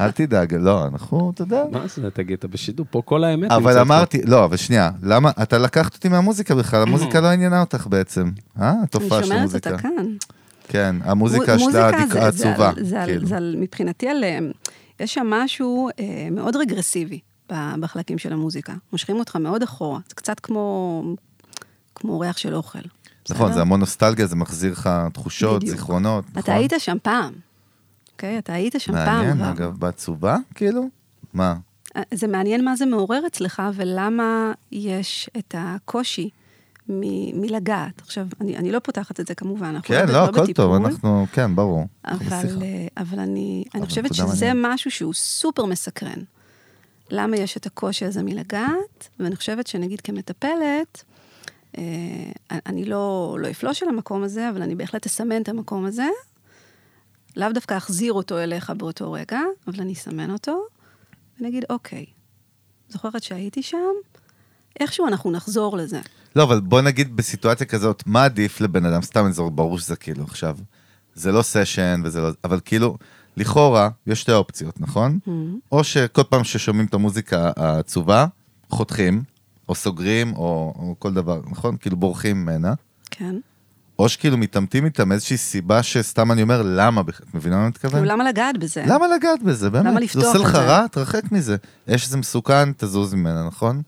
Speaker 1: אל תדאג, לא, אנחנו, אתה יודע,
Speaker 3: מה זה תגיד? אתה בשידור, פה כל האמת
Speaker 1: אבל
Speaker 3: נמצאת
Speaker 1: אמרתי, לא, אבל שנייה, למה, אתה לקחת אותי מהמוזיקה בכלל, המוזיקה לא עניינה אותך בעצם. אה,
Speaker 4: אני
Speaker 1: התופעה של
Speaker 4: שומרת
Speaker 1: המוזיקה.
Speaker 4: אותה כאן.
Speaker 1: כן, המוזיקה
Speaker 4: מו-
Speaker 1: שלה
Speaker 4: מוזיקה
Speaker 1: הדיק-
Speaker 4: זה- זה
Speaker 1: העצובה.
Speaker 4: על- זה על-
Speaker 1: כאילו.
Speaker 4: זה על- מבחינתי על... אה, יש שם משהו אה, מאוד רגרסיבי ב- בחלקים של המוזיקה. מושכים אותך מאוד אחורה. זה קצת כמו, כמו ריח של אוכל.
Speaker 1: נכון,
Speaker 4: בסדר?
Speaker 1: זה המון נוסטלגיה, זה מחזיר לך תחושות,
Speaker 4: לא. בדיוק.
Speaker 1: זיכרונות. נכון?
Speaker 4: אתה היית שם פעם. אוקיי? אתה היית שם פעם. לא?
Speaker 1: מעניין,
Speaker 4: כבר.
Speaker 1: אגב, בעצובה, כאילו? מה?
Speaker 4: זה מעניין מה זה מעורר אצלך ולמה יש את הקושי מ- מלגעת. עכשיו, אני, אני לא פותחת את זה כמובן, אנחנו
Speaker 1: כן,
Speaker 4: ב-
Speaker 1: לא, הכל
Speaker 4: בטיפול,
Speaker 1: טוב, אנחנו, כן, ברור. אנחנו בשיחה.
Speaker 4: אבל, אה, אבל אני,
Speaker 1: אבל
Speaker 4: אני חושבת
Speaker 1: תודה
Speaker 4: שזה
Speaker 1: מעניין.
Speaker 4: משהו שהוא סופר מסקרן. למה יש את הקושי הזה מלגעת, ואני חושבת שנגיד כמטפלת, אה, אני לא, לא אפלוש על המקום הזה, אבל אני בהחלט אסמן את המקום הזה. לאו דווקא אחזיר אותו אליך באותו רגע, אבל אני אסמן אותו, ונגיד, אוקיי, זוכרת שהייתי שם? איכשהו אנחנו נחזור לזה.
Speaker 1: לא, אבל בוא נגיד בסיטואציה כזאת, מה עדיף לבן אדם? סתם אזור, ברור שזה כאילו עכשיו, זה לא סשן וזה לא... אבל כאילו, לכאורה, יש שתי אופציות, נכון?
Speaker 4: Mm-hmm.
Speaker 1: או שכל פעם ששומעים את המוזיקה העצובה, חותכים, או סוגרים, או, או כל דבר, נכון? כאילו בורחים ממנה.
Speaker 4: כן.
Speaker 1: או שכאילו מתעמתים איתם איזושהי סיבה שסתם אני אומר, למה בכלל? את מבינה מה אני מתכוון?
Speaker 4: כאילו, למה לגעת בזה?
Speaker 1: למה לגעת בזה, באמת?
Speaker 4: למה לפתוח
Speaker 1: זה עושה
Speaker 4: את
Speaker 1: לך
Speaker 4: זה?
Speaker 1: רע? תרחק מזה. יש איזה מסוכן, תזוז ממנה, נכון?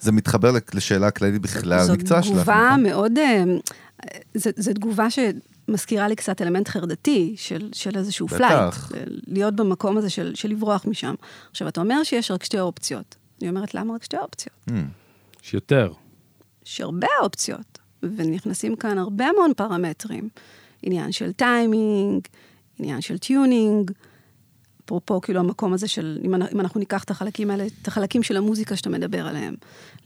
Speaker 1: זה מתחבר לשאלה הכללית בכלל, המקצוע שלך.
Speaker 4: זו תגובה
Speaker 1: נכון?
Speaker 4: מאוד... אה, זו, זו תגובה שמזכירה לי קצת אלמנט חרדתי של, של איזשהו
Speaker 1: בטח.
Speaker 4: פלייט. להיות במקום הזה של, של לברוח משם. עכשיו, אתה אומר שיש רק שתי אופציות. אני אומרת, למה רק שתי אופציות?
Speaker 3: פה. יש יותר.
Speaker 4: יש הרבה אופציות, ונכנסים כאן הרבה מאוד פרמטרים. עניין של טיימינג, עניין של טיונינג, אפרופו כאילו המקום הזה של, אם אנ- אם אנחנו ניקח את החלקים האלה, את החלקים של המוזיקה שאתה מדבר עליהם.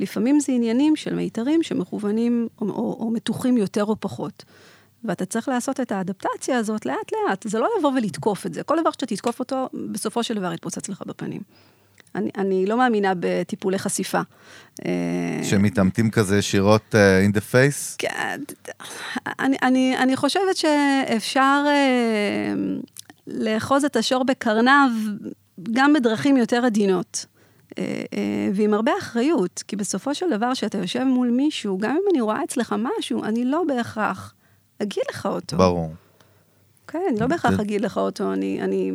Speaker 4: לפעמים זה עניינים של מיתרים שמכוונים או, או, או מתוחים יותר או פחות. ואתה צריך לעשות את האדפטציה הזאת לאט-לאט. זה לא לבוא ולתקוף את זה. כל דבר שאתה תתקוף אותו, בסופו של דבר יתפוצץ לך בפנים. אני, אני לא מאמינה בטיפולי חשיפה. אה,
Speaker 1: שמתעמתים כזה ישירות אה, in the face?
Speaker 4: כן, אני, אני, אני חושבת שאפשר אה, לאחוז את השור בקרניו גם בדרכים יותר עדינות. אה, אה, ועם הרבה אחריות, כי בסופו של דבר, כשאתה יושב מול מישהו, גם אם אני רואה אצלך משהו, אני לא בהכרח אגיד לך אותו.
Speaker 1: ברור.
Speaker 4: כן, אני לא בהכרח
Speaker 1: זה-
Speaker 4: אגיד לך אותו, אני, אני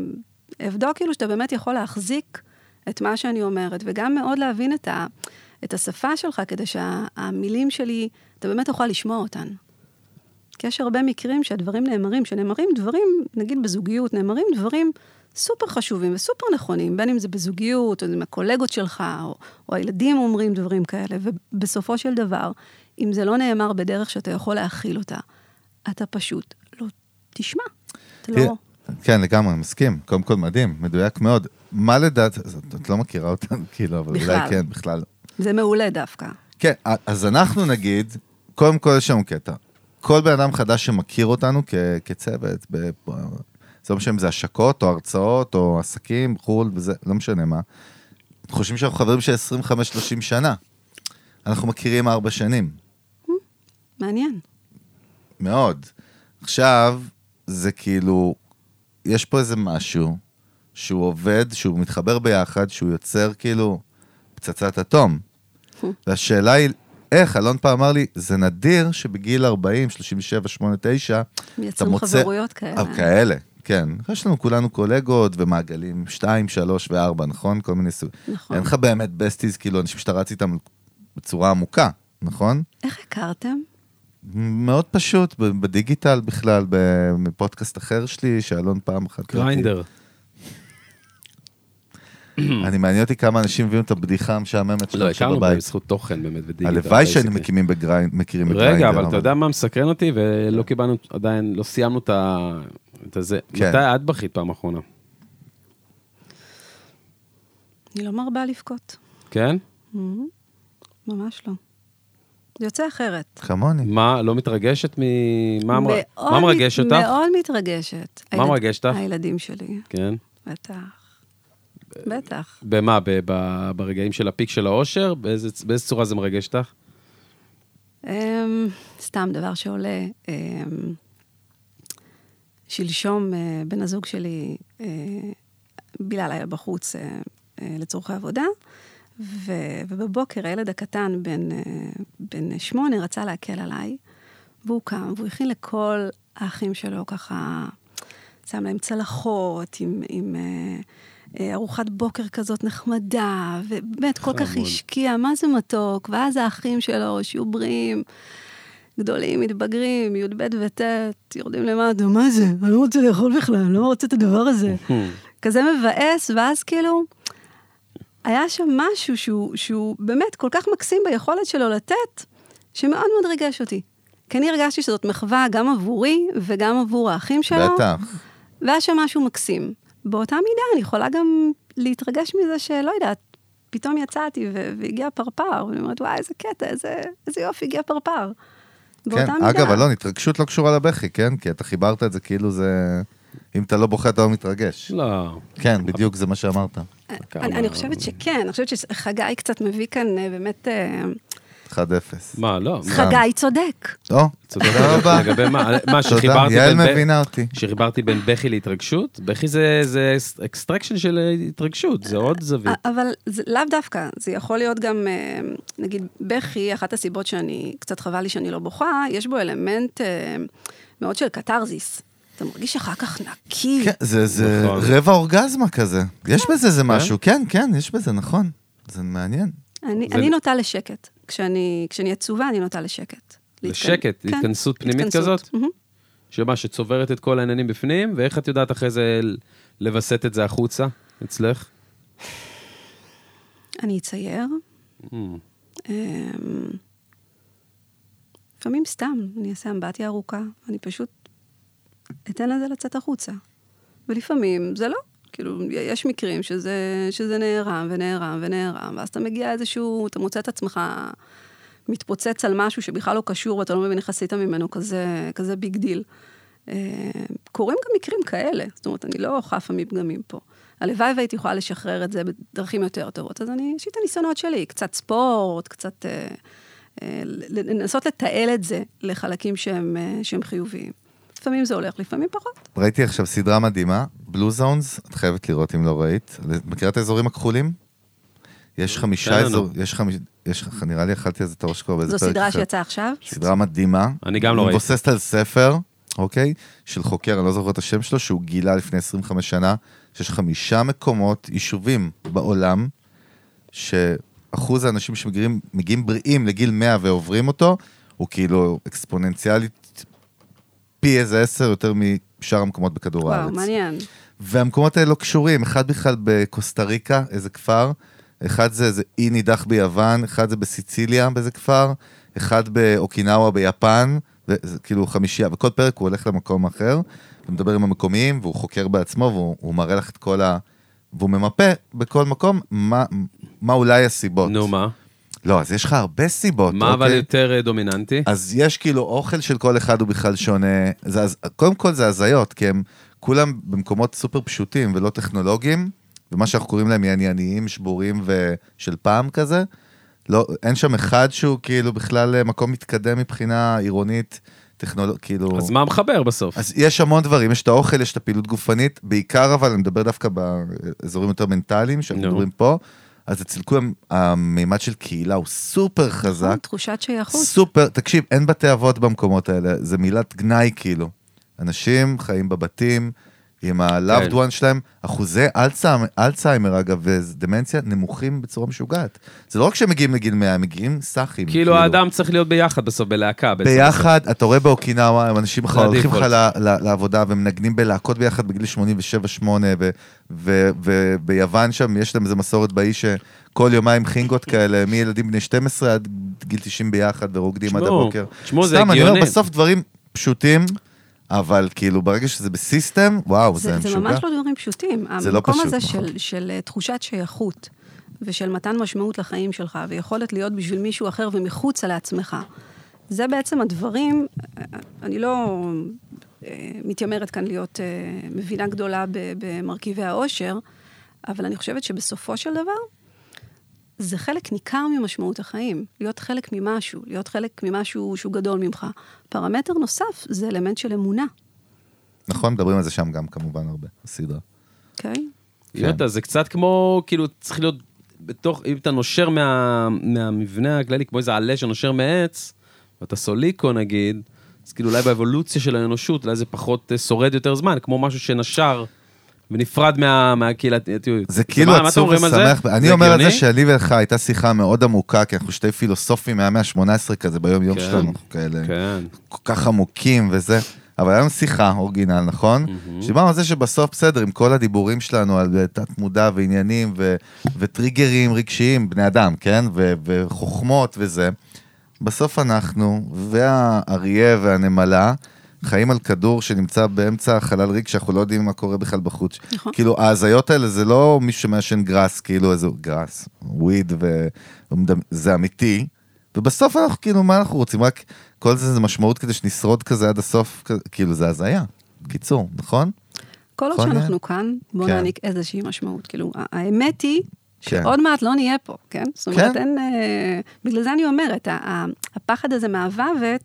Speaker 4: אבדוק כאילו שאתה באמת יכול להחזיק את מה שאני אומרת, וגם מאוד להבין את, ה, את השפה שלך, כדי שהמילים שלי, אתה באמת תוכל לשמוע אותן. כי יש הרבה מקרים שהדברים נאמרים, שנאמרים דברים, נגיד בזוגיות, נאמרים דברים סופר חשובים וסופר נכונים, בין אם זה בזוגיות, או עם הקולגות שלך, או, או הילדים אומרים דברים כאלה, ובסופו של דבר, אם זה לא נאמר בדרך שאתה יכול להכיל אותה, אתה פשוט לא תשמע. אתה לא...
Speaker 1: כן, לגמרי, מסכים. קודם כל מדהים, מדויק מאוד. מה לדעת, את- את לא מכירה אותנו, כאילו, אבל אולי
Speaker 4: בכלל.
Speaker 1: כן, בכלל.
Speaker 4: זה מעולה דווקא.
Speaker 1: כן, אז אנחנו נגיד, קודם כל יש לנו קטע. כל בן אדם חדש שמכיר אותנו כ- כצוות, ב- זה לא משנה אם זה השקות, או הרצאות, או עסקים, חו"ל, וזה, לא משנה מה. חושבים שאנחנו חברים של 25-30 שנה. אנחנו מכירים ארבע שנים,
Speaker 4: מעניין.
Speaker 1: מאוד. עכשיו, זה כאילו, יש פה איזה משהו שהוא עובד, שהוא מתחבר ביחד, שהוא יוצר כאילו פצצת אטום. והשאלה היא, איך? אלון פעם אמר לי, זה נדיר שבגיל 40, 37, 8, 9, אתה
Speaker 4: מייצרים
Speaker 1: מוצא...
Speaker 4: חברויות כאלה.
Speaker 1: אה, כאלה, כן. יש לנו כולנו קולגות ומעגלים 2, 3 ו-4, נכון? כל מיני סוגים.
Speaker 4: נכון.
Speaker 1: אין לך באמת בסטיז, כאילו, אנשים שאתה רץ איתם בצורה עמוקה, נכון?
Speaker 4: איך הכרתם?
Speaker 1: מאוד פשוט, ב- בדיגיטל בכלל, ב- מפודקאסט אחר שלי, שאלון פעם אחת... לא
Speaker 3: גריינדר.
Speaker 1: אני מעניין אותי כמה אנשים הביאו את הבדיחה המשעממת
Speaker 3: לא,
Speaker 1: שלהם
Speaker 3: הכרנו בהם
Speaker 1: בבית.
Speaker 3: בזכות תוכן באמת בדיגיטל.
Speaker 1: הלוואי שהיינו
Speaker 3: basically.
Speaker 1: מקימים בגריינ- מכירים בגריינדר.
Speaker 3: רגע, אבל אתה יודע מה מסקרן אותי? ולא קיבלנו עדיין, לא סיימנו את ה... את הזה.
Speaker 1: כן.
Speaker 3: מתי את בכית פעם אחרונה?
Speaker 4: אני לא מרבה לבכות.
Speaker 3: כן?
Speaker 4: ממש לא. זה יוצא אחרת.
Speaker 1: כמוני.
Speaker 3: מה, לא מתרגשת מ... מה אמרה-
Speaker 4: מאוד
Speaker 3: מה
Speaker 4: מת-
Speaker 3: מרגש אותך?
Speaker 4: מאוד מתרגשת.
Speaker 3: מה
Speaker 4: הילד-
Speaker 3: מרגש אותך?
Speaker 4: הילדים שלי.
Speaker 3: כן.
Speaker 4: בטח. בטח.
Speaker 3: במה? ב- ב- ברגעים של הפיק של האושר? באיזה באיזה צורה זה מרגש אותך?
Speaker 4: אמ, סתם דבר שעולה. אמ, שלשום אה, בן הזוג שלי אה, בילה לילה בחוץ אה, אה, לצורכי עבודה, ו, ובבוקר הילד הקטן, בן, אה, בן שמונה, רצה להקל עליי, והוא קם, והוא הכין לכל האחים שלו ככה, שם להם צלחות עם... עם אה, אה, ארוחת בוקר כזאת נחמדה, ובאמת כל כך
Speaker 3: חמוד.
Speaker 4: השקיע, מה זה מתוק, ואז האחים שלו, שיהיו בריאים, גדולים, מתבגרים, י"ב וט', יורדים למטה, מה זה? אני לא רוצה לאכול בכלל, אני לא רוצה את הדבר הזה. כזה מבאס, ואז כאילו, היה שם משהו שהוא, שהוא באמת כל כך מקסים ביכולת שלו לתת, שמאוד מאוד ריגש אותי. כי אני הרגשתי שזאת מחווה גם עבורי וגם עבור האחים שלו.
Speaker 1: בטח.
Speaker 4: והיה שם משהו מקסים. באותה מידה אני יכולה גם להתרגש מזה שלא יודעת, פתאום יצאתי ו- והגיע פרפר, ואני אומרת, וואי, איזה קטע, איזה, איזה יופי, הגיע פרפר.
Speaker 1: כן,
Speaker 4: באותה
Speaker 1: אגב, אלון, התרגשות לא קשורה לבכי, כן? כי אתה חיברת את זה כאילו זה... אם אתה לא בוכה, אתה לא מתרגש.
Speaker 3: לא.
Speaker 1: כן, בדיוק זה מה שאמרת.
Speaker 3: כמה-
Speaker 4: אני, אני חושבת שכן, אני חושבת שחגי קצת מביא כאן אה, באמת... אה,
Speaker 1: 1-0.
Speaker 3: מה, לא. מה?
Speaker 4: חגי צודק.
Speaker 1: או,
Speaker 3: צודקת
Speaker 1: תודה רבה.
Speaker 3: לגבי מה, מה
Speaker 1: תודה,
Speaker 3: שחיברתי
Speaker 1: יעל
Speaker 3: בין, ב...
Speaker 1: מבינה אותי.
Speaker 3: שחיברתי בין בכי להתרגשות, בכי זה, זה אקסטרקשן של התרגשות, זה עוד זווית.
Speaker 4: א- אבל זה לאו דווקא, זה יכול להיות גם, אה, נגיד, בכי, אחת הסיבות שאני, קצת חבל לי שאני לא בוכה, יש בו אלמנט אה, מאוד של קתרזיס. אתה מרגיש אחר כך נקי.
Speaker 1: כן, זה- זה
Speaker 3: נכון.
Speaker 1: רבע אורגזמה כזה. יש
Speaker 4: אה?
Speaker 1: בזה איזה משהו, כן, כן, יש בזה, נכון. זה מעניין.
Speaker 4: אני,
Speaker 3: זה-
Speaker 4: זה... אני נוטה לשקט. כשאני, כשאני עצובה, אני נוטה לשקט.
Speaker 3: לשקט,
Speaker 4: להתכנ- כן,
Speaker 3: התכנסות פנימית כזאת?
Speaker 4: מהמם.
Speaker 3: שמה, שצוברת את כל העניינים בפנים, ואיך את יודעת אחרי זה ל- לווסת את זה החוצה, אצלך?
Speaker 4: אני אצייר.
Speaker 3: Mm.
Speaker 4: אמ, לפעמים סתם, אני אעשה אמבטיה ארוכה, אני פשוט אתן לזה לצאת החוצה. ולפעמים זה לא. כאילו, יש מקרים שזה, שזה נערם ונערם ונערם, ואז אתה מגיע איזשהו, אתה מוצא את עצמך מתפוצץ על משהו שבכלל לא קשור, ואתה לא מבין איך עשית ממנו כזה, כזה ביג דיל. אה, קורים גם מקרים כאלה, זאת אומרת, אני לא חפה מפגמים פה. הלוואי והייתי יכולה לשחרר את זה בדרכים יותר טובות, אז אני, יש לי את הניסיונות שלי, קצת ספורט, קצת... אה, אה, לנסות לתעל את זה לחלקים שהם, אה, שהם חיוביים. לפעמים זה הולך, לפעמים פחות.
Speaker 1: ראיתי עכשיו סדרה מדהימה, בלו זונס, את חייבת לראות אם לא ראית. את מכירה את האזורים הכחולים? יש
Speaker 3: תן
Speaker 1: חמישה
Speaker 3: לנו.
Speaker 1: אזור, יש חמישה, יש לך, נראה לי אכלתי על זה את הראש כבר באיזה
Speaker 4: זו
Speaker 1: פרק.
Speaker 4: סדרה
Speaker 1: אחר.
Speaker 4: שיצאה עכשיו.
Speaker 1: סדרה מדהימה.
Speaker 3: אני גם לא ראיתי.
Speaker 1: מבוססת על ספר, אוקיי? של חוקר, אני לא זוכר את השם שלו, שהוא גילה לפני 25 שנה, שיש חמישה מקומות, יישובים בעולם, שאחוז האנשים שמגיעים מגיעים בריאים לגיל 100 ועוברים אותו, הוא כאילו אקספוננציאלית פי איזה עשר יותר משאר המקומות בכדור הארץ.
Speaker 4: וואו, מעניין.
Speaker 1: והמקומות האלה לא קשורים, אחד בכלל בקוסטה ריקה, איזה כפר, אחד זה איזה אי נידח ביוון, אחד זה בסיציליה באיזה כפר, אחד באוקינאווה ביפן, וזה כאילו חמישייה, וכל פרק הוא הולך למקום אחר, ומדבר עם המקומיים, והוא חוקר בעצמו, והוא הוא מראה לך את כל ה... והוא ממפה בכל מקום מה, מה אולי הסיבות.
Speaker 3: נו, מה?
Speaker 1: לא, אז יש לך הרבה סיבות, אוקיי?
Speaker 3: מה אבל יותר אה, דומיננטי?
Speaker 1: אז יש כאילו אוכל של כל אחד הוא בכלל שונה. זה, הז- קודם כל זה הזיות, כי הם כולם במקומות סופר פשוטים ולא טכנולוגיים, ומה שאנחנו קוראים להם יעניינים, שבורים ושל פעם כזה. לא, אין שם אחד שהוא כאילו בכלל אה, מקום מתקדם מבחינה עירונית, טכנולוגית, כאילו...
Speaker 3: אז מה מחבר בסוף?
Speaker 1: אז יש המון דברים, יש את האוכל, יש את הפעילות גופנית, בעיקר אבל אני מדבר דווקא באזורים יותר מנטליים, שאנחנו
Speaker 3: נו.
Speaker 1: מדברים פה, אז אצל כולם המימד של קהילה הוא סופר חזק.
Speaker 4: תחושת שייכות.
Speaker 1: סופר, תקשיב, אין בתי אבות במקומות האלה, זה מילת גנאי כאילו. אנשים חיים בבתים עם ה-loved
Speaker 3: כן.
Speaker 1: one שלהם, אחוזי אלצהיימר, אלצהיימר אגב, ודמנציה נמוכים בצורה משוגעת. זה לא רק שהם מגיעים לגיל 100, הם מגיעים סאחים.
Speaker 3: כאילו האדם צריך להיות ביחד בסוף, בלהקה בעצם.
Speaker 1: ביחד, אתה רואה באוקינאווה, הם אנשים
Speaker 3: זה
Speaker 1: בכלל הולכים לך
Speaker 3: הדיפולט.
Speaker 1: ל- ל- לעבודה ומנגנים בלהקות ביחד בגיל 87-8, וביוון שם יש להם איזה מסורת באי שכל יומיים חינגות כאלה, מילדים בני 12 עד גיל 90 ביחד ורוקדים עד
Speaker 3: תשמעו,
Speaker 1: הבוקר.
Speaker 3: תשמעו, זה
Speaker 1: סתם, אני אומר
Speaker 3: הגיוני.
Speaker 1: בסוף דברים פשוטים, אבל כאילו ברגע שזה בסיסטם, וואו, זה
Speaker 4: זה, זה
Speaker 1: משוגע.
Speaker 4: ממש לא דברים פשוטים.
Speaker 1: זה לא
Speaker 4: המקום
Speaker 1: פשוט,
Speaker 4: הזה
Speaker 1: נכון.
Speaker 4: של, של אה, תחושת שייכות, ושל מתן משמעות לחיים שלך, ויכולת להיות בשביל מישהו אחר ומחוצה לעצמך, זה בעצם הדברים, אה, אני לא אה, מתיימרת כאן להיות אה, מבינה גדולה ב- במרכיבי העושר, אבל אני חושבת שבסופו של דבר, זה חלק ניכר ממשמעות החיים, להיות חלק ממשהו, להיות חלק ממשהו שהוא גדול ממך. פרמטר נוסף זה אלמנט של אמונה,
Speaker 1: נכון, מדברים על זה שם גם כמובן הרבה, בסדרה.
Speaker 4: אוקיי?
Speaker 1: כן.
Speaker 3: יוטה, זה קצת כמו, כאילו, צריך להיות בתוך, אם אתה נושר מה, מהמבנה הכללי, כמו איזה עלה שנושר מעץ, ואתה סוליקו נגיד, אז כאילו אולי באבולוציה של האנושות, אולי זה פחות אה, שורד יותר זמן, כמו משהו שנשר ונפרד מה, מהקהילתיות.
Speaker 1: זה כאילו
Speaker 3: מה- מה אתם
Speaker 1: עצוב
Speaker 3: אומרים על זה?
Speaker 1: ושמח. אני
Speaker 3: זה
Speaker 1: אומר על זה
Speaker 3: הגיוני?
Speaker 1: שלי ולך הייתה שיחה מאוד עמוקה, כי אנחנו שתי פילוסופים מהמאה ה-18 כזה ביום יום
Speaker 3: כן.
Speaker 1: שלנו, אנחנו כאלה,
Speaker 3: כן.
Speaker 1: כל כך עמוקים וזה. אבל היה לנו שיחה אורגינל, נכון? שדיברנו על זה שבסוף, בסדר, עם כל הדיבורים שלנו על אה, תת מודע ועניינים ו- וטריגרים רגשיים, בני אדם, כן? ו- וחוכמות וזה. בסוף אנחנו והאריה והנמלה חיים על כדור שנמצא באמצע החלל ריק, שאנחנו לא יודעים מה קורה בכלל בחוץ.
Speaker 4: נכון.
Speaker 1: כאילו, ההזיות האלה זה לא מישהו שמעשן גראס, כאילו איזה גראס, וויד, ו... ומדמ- זה אמיתי. ובסוף אנחנו כאילו, מה אנחנו רוצים? רק כל זה זה משמעות כדי שנשרוד כזה עד הסוף, כ- כאילו זה הזיה. קיצור, נכון?
Speaker 4: כל עוד
Speaker 1: נכון,
Speaker 4: שאנחנו כאן, בואו
Speaker 1: כן.
Speaker 4: נעניק איזושהי משמעות. כאילו, ה- האמת היא
Speaker 1: כן.
Speaker 4: שעוד מעט לא נהיה פה, כן? זאת אומרת,
Speaker 1: כן.
Speaker 4: אין... אה, בגלל זה אני אומרת, ה- ה- הפחד הזה מהמוות,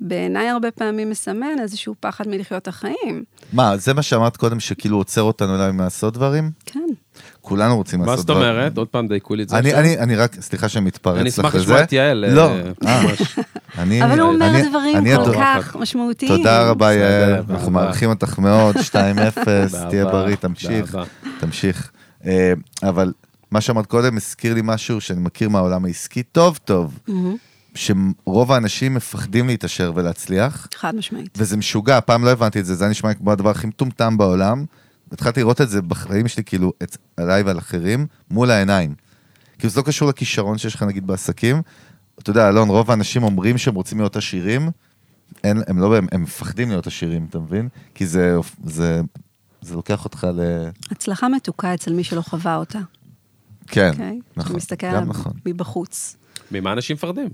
Speaker 4: בעיניי הרבה פעמים מסמן איזשהו פחד מלחיות את החיים.
Speaker 1: מה, זה מה שאמרת קודם, שכאילו עוצר אותנו אולי מלעשות דברים?
Speaker 4: כן.
Speaker 1: כולנו רוצים
Speaker 3: מה
Speaker 1: לעשות
Speaker 3: זאת
Speaker 1: דברים.
Speaker 3: אומרת? עוד פעם דייקו לי את זה.
Speaker 1: אני,
Speaker 3: עכשיו.
Speaker 1: אני, אני רק, סליחה שאני מתפרץ לך
Speaker 3: אני
Speaker 1: לזה.
Speaker 3: אשמח לשמוע את יעל. אה,
Speaker 1: לא, אה,
Speaker 3: ממש.
Speaker 1: אני...
Speaker 4: אבל הוא אומר
Speaker 1: אני-
Speaker 4: דברים
Speaker 1: אני
Speaker 4: כל
Speaker 1: הדור-
Speaker 4: כך משמעותיים.
Speaker 1: תודה רבה
Speaker 3: בסדר,
Speaker 1: יעל,
Speaker 3: באהבה.
Speaker 1: אנחנו מעריכים אותך מאוד, 2-0, תהיה
Speaker 3: באהבה,
Speaker 1: בריא, תמשיך,
Speaker 3: באהבה.
Speaker 1: תמשיך. אה, אבל מה שאמרת קודם הזכיר לי משהו שאני מכיר מהעולם העסקי טוב טוב,
Speaker 4: מהמם.
Speaker 1: שרוב האנשים מפחדים להתעשר ולהצליח,
Speaker 4: חד משמעית.
Speaker 1: וזה משוגע, פעם לא הבנתי את זה, זה היה נשמע כמו הדבר הכי מטומטם בעולם. התחלתי לראות את זה בחיים שלי, כאילו, את, עליי ועל אחרים, מול העיניים. כאילו, זה לא קשור לכישרון שיש לך, נגיד, בעסקים. אתה יודע, אלון, רוב האנשים אומרים שהם רוצים להיות עשירים, אין, הם לא, הם, הם מפחדים להיות עשירים, אתה מבין? כי זה, זה, זה לוקח אותך ל...
Speaker 4: הצלחה מתוקה אצל מי שלא חווה אותה,
Speaker 1: כן,
Speaker 4: אוקיי?
Speaker 1: נכון,
Speaker 4: שמסתכל עליו
Speaker 1: גם נכון.
Speaker 4: מבחוץ.
Speaker 3: ממה אנשים מפחדים?